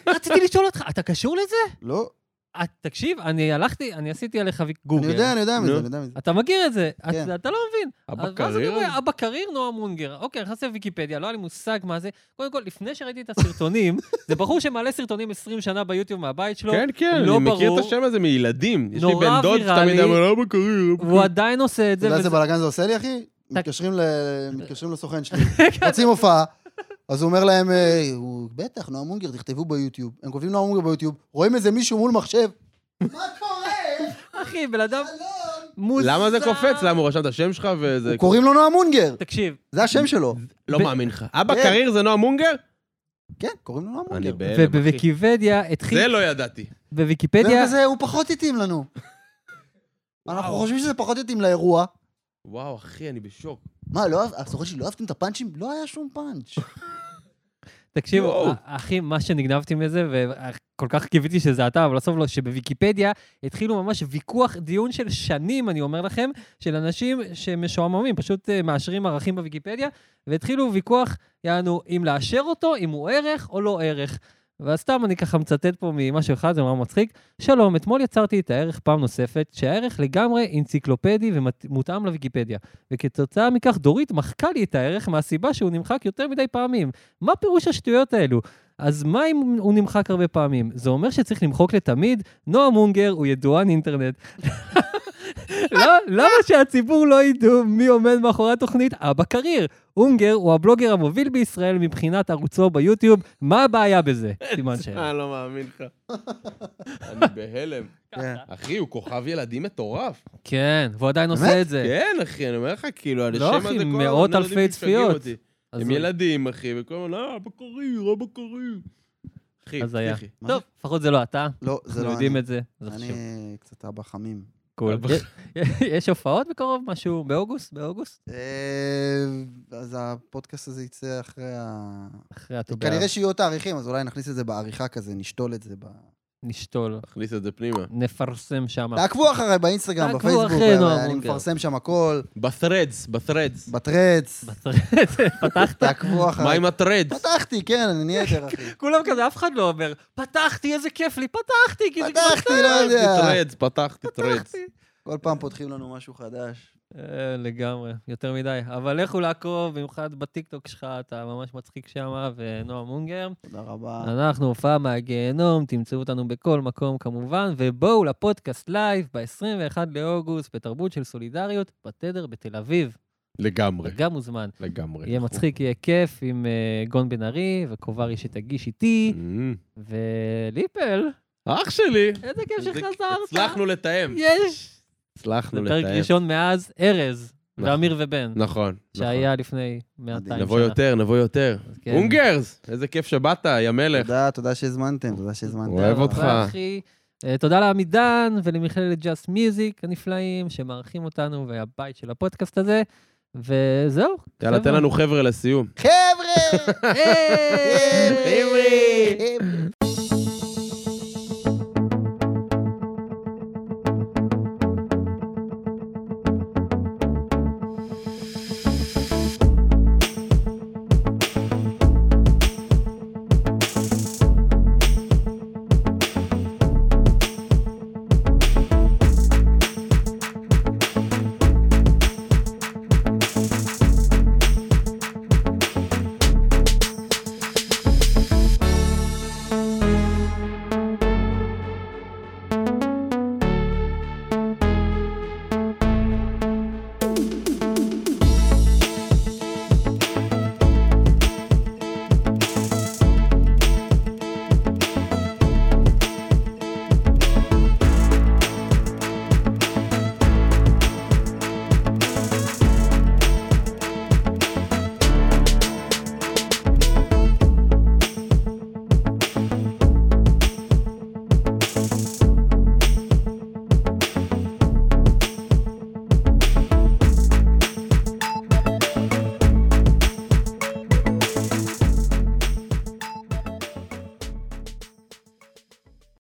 Speaker 1: רציתי לשאול אותך, אתה קשור לזה?
Speaker 3: לא,
Speaker 1: אה, תקשיב, אני הלכתי, אני עשיתי עליך גוגל.
Speaker 3: אני יודע, אני יודע
Speaker 2: נו.
Speaker 3: מזה, אני יודע מזה.
Speaker 1: אתה מכיר את זה,
Speaker 3: כן.
Speaker 1: אתה- אתה לא מבין. אז ואז אני
Speaker 2: הבקריר?
Speaker 1: רואה, אבא קריר, נועה מונגר. אוקיי, נכנסתי לוויקיפדיה, לא היה לי מושג מה זה. קודם כל, לפני שראיתי את הסרטונים, זה בחור שמעלה סרטונים 20 שנה ביוטיוב מהבית שלו,
Speaker 2: כן, כן,
Speaker 1: לא
Speaker 2: אני מכיר את
Speaker 1: ברור.
Speaker 2: השם הזה מילדים. יש לי
Speaker 1: נורא
Speaker 2: בן דוד
Speaker 1: ויראלי.
Speaker 2: שתמיד אמר, אבא קריר. אבא
Speaker 1: והוא עדיין עושה את
Speaker 3: אתה
Speaker 1: זה.
Speaker 3: יודע איזה
Speaker 1: וזה-
Speaker 3: בלאגן זה עושה לי, אחי? מתקשרים ל- מתקשרים לסוכן שלי,
Speaker 1: כן.
Speaker 3: רוצים הופעה, אז הוא אומר להם, אה, הוא- בטח, נועם מונגר, תכתבו ביוטיוב. הם כותבים נועם מונגר ביוטיוב, רואים איזה מישהו מול מחשב. מה קורה?
Speaker 1: אחי, בן אדם
Speaker 3: שלום.
Speaker 2: קריר."
Speaker 1: מוזר.
Speaker 2: למה זה קופץ? למה הוא רשם את השם שלך וזה...
Speaker 3: קוראים לו נועם מונגר,
Speaker 1: תקשיב,
Speaker 3: זה השם שלו.
Speaker 2: לא
Speaker 1: ב-
Speaker 2: מאמין לך. אבא
Speaker 3: כן.
Speaker 2: קריר זה נועם מונגר?
Speaker 3: כן, קוראים לו נועם
Speaker 2: אני
Speaker 3: מונגר.
Speaker 2: בהלם.
Speaker 1: ובוויקיפדיה
Speaker 2: זה
Speaker 1: התחיל,
Speaker 2: לא ידעתי.
Speaker 1: בוויקיפדיה,
Speaker 3: זה כזה, הוא פחות התאים לנו. אנחנו חושבים שזה פחות התאים לאירוע.
Speaker 2: וואו, אחי, אני בשוק.
Speaker 3: מה, לא אהב- הסוכן שלי, לא אהבתם את הפאנצ'ים? לא היה שום פאנץ'.
Speaker 1: תקשיב,
Speaker 2: יואו.
Speaker 1: א- אה, אחי, מה שנגנבתי מזה, וכל כך קיוויתי שזה אתה, אבל בסוף לא, שבוויקיפדיה התחילו ממש ויכוח, דיון של שנים, אני אומר לכם, של אנשים שמשועממים, פשוט אה, מאשרים ערכים בוויקיפדיה, והתחילו ויכוח, יענו, אם לאשר אותו, אם הוא ערך או לא ערך. ואז סתם אני ככה מצטט פה ממשהו אחד, זה נורא מצחיק. שלום, אתמול יצרתי את הערך פעם נוספת, שהערך לגמרי אנציקלופדי ומותאם לוויקיפדיה. וכתוצאה מכך דורית מחקה לי את הערך מהסיבה שהוא נמחק יותר מדי פעמים. מה פירוש השטויות האלו? אז מה אם הוא נמחק הרבה פעמים? זה אומר שצריך למחוק לתמיד? נועם אונגר הוא ידוען אינטרנט. לא, למה שהציבור לא ידעו מי עומד מאחורי התוכנית אבא קריר? אונגר הוא הבלוגר המוביל בישראל מבחינת ערוצו ביוטיוב, מה הבעיה בזה? סימן שאלה.
Speaker 2: אני לא מאמין לך. אני בהלם.
Speaker 3: כן.
Speaker 2: אחי, הוא כוכב ילדים מטורף.
Speaker 1: כן, והוא עדיין עושה
Speaker 3: באמת?
Speaker 1: את זה.
Speaker 2: כן, אחי, אני אומר לך, כאילו, השם
Speaker 1: לא,
Speaker 2: הזה
Speaker 1: אחי,
Speaker 2: כל הזמן,
Speaker 1: מאות
Speaker 2: ילדים
Speaker 1: אלפי
Speaker 2: משגעים
Speaker 1: צפיות.
Speaker 2: אותי.
Speaker 1: אז
Speaker 2: הם
Speaker 1: הוא-
Speaker 2: ילדים, אחי, וכל הזמן, אה, אבא קריר, אבא קריר. אחי,
Speaker 1: אז היה.
Speaker 2: פסיכי.
Speaker 3: מה
Speaker 1: טוב, לפחות זה לא אתה,
Speaker 3: לא, זה
Speaker 1: אנחנו
Speaker 3: לא
Speaker 1: יודעים
Speaker 3: אני.
Speaker 1: את זה, זה חשוב.
Speaker 3: אני קצת אבא חמים.
Speaker 1: קול.
Speaker 2: אבא-
Speaker 1: יש הופעות בקרוב, משהו באוגוסט? באוגוסט?
Speaker 3: אה, אז הפודקאסט הזה יצא אחרי ה...
Speaker 1: אחרי הטובה.
Speaker 3: כנראה שיהיו עוד תאריכים, אז אולי נכניס את זה בעריכה כזה, נשתול את זה. ב-
Speaker 1: נשתול,
Speaker 2: תכניס את זה פנימה.
Speaker 1: נפרסם שם.
Speaker 3: תעקבו אחריי באינסטגרם,
Speaker 1: תעקבו
Speaker 3: בפייסבוק,
Speaker 1: אחרי
Speaker 3: אבל
Speaker 1: נועם
Speaker 3: אני
Speaker 1: אונגר.
Speaker 3: מפרסם שם הכל,
Speaker 2: בת'רדס, בת'רדס.
Speaker 3: בטרדס,
Speaker 1: בסרט, פתחת?
Speaker 3: תעקבו
Speaker 2: מה
Speaker 3: אחריי.
Speaker 2: עם כאילו, הת'רדס?
Speaker 3: פתחתי, כן, אני נהיה יותר אחי.
Speaker 1: כולם כזה, אף אחד לא אומר, פתחתי, איזה כיף לי, פתחתי, כי זה כבר
Speaker 3: פתחתי, לא יודע.
Speaker 2: ת'רדס, פתחתי ת'רדס.
Speaker 1: פתחתי.
Speaker 3: כל פעם פותחים לנו משהו חדש.
Speaker 1: אה, לגמרי, יותר מדי. אבל לכו לעקוב, במיוחד בטיקטוק שלך, אתה ממש מצחיק שם, ונועם מונגר.
Speaker 3: תודה רבה.
Speaker 1: אנחנו הופעה מהגיהנום, תמצאו אותנו בכל מקום כמובן, ובואו לפודקאסט לייב ב-21 לאוגוסט, בתרבות של סולידריות, בתדר בתל אביב.
Speaker 2: לגמרי,
Speaker 1: גם מוזמן.
Speaker 2: לגמרי.
Speaker 1: יהיה מצחיק, יהיה כיף עם אה, גון בן ארי וקוברי שתגיש איתי,
Speaker 2: אמ,
Speaker 1: וליפל,
Speaker 2: אח שלי.
Speaker 1: איזה כיף שחזרת.
Speaker 2: הצלחנו לתאם.
Speaker 1: יש! זה
Speaker 2: הצלחנו
Speaker 1: פרק
Speaker 2: לתאם.
Speaker 1: ראשון מאז ארז
Speaker 2: נכון.
Speaker 1: ואמיר ובן,
Speaker 2: נכון.
Speaker 1: שהיה לפני 200 שנה.
Speaker 3: מדהים.
Speaker 2: נבוא יותר, נבוא יותר.
Speaker 1: אז כן.
Speaker 2: אונגרס, איזה כיף שבאת, יא מלך.
Speaker 3: תודה, תודה שהזמנתם, תודה שהזמנתם.
Speaker 2: אוהב
Speaker 1: תודה
Speaker 2: אותך.
Speaker 1: רבה, אחי. אה, תודה לעמידן ולמכללת ג'אסט מיוזיק הנפלאים שמארחים אותנו והבית של הפודקאסט הזה. וזהו.
Speaker 2: יאללה,
Speaker 1: חבר'ה.
Speaker 2: תן לנו חבר'ה לסיום.
Speaker 3: חבר'ה!
Speaker 1: היי!
Speaker 3: חבר'ה!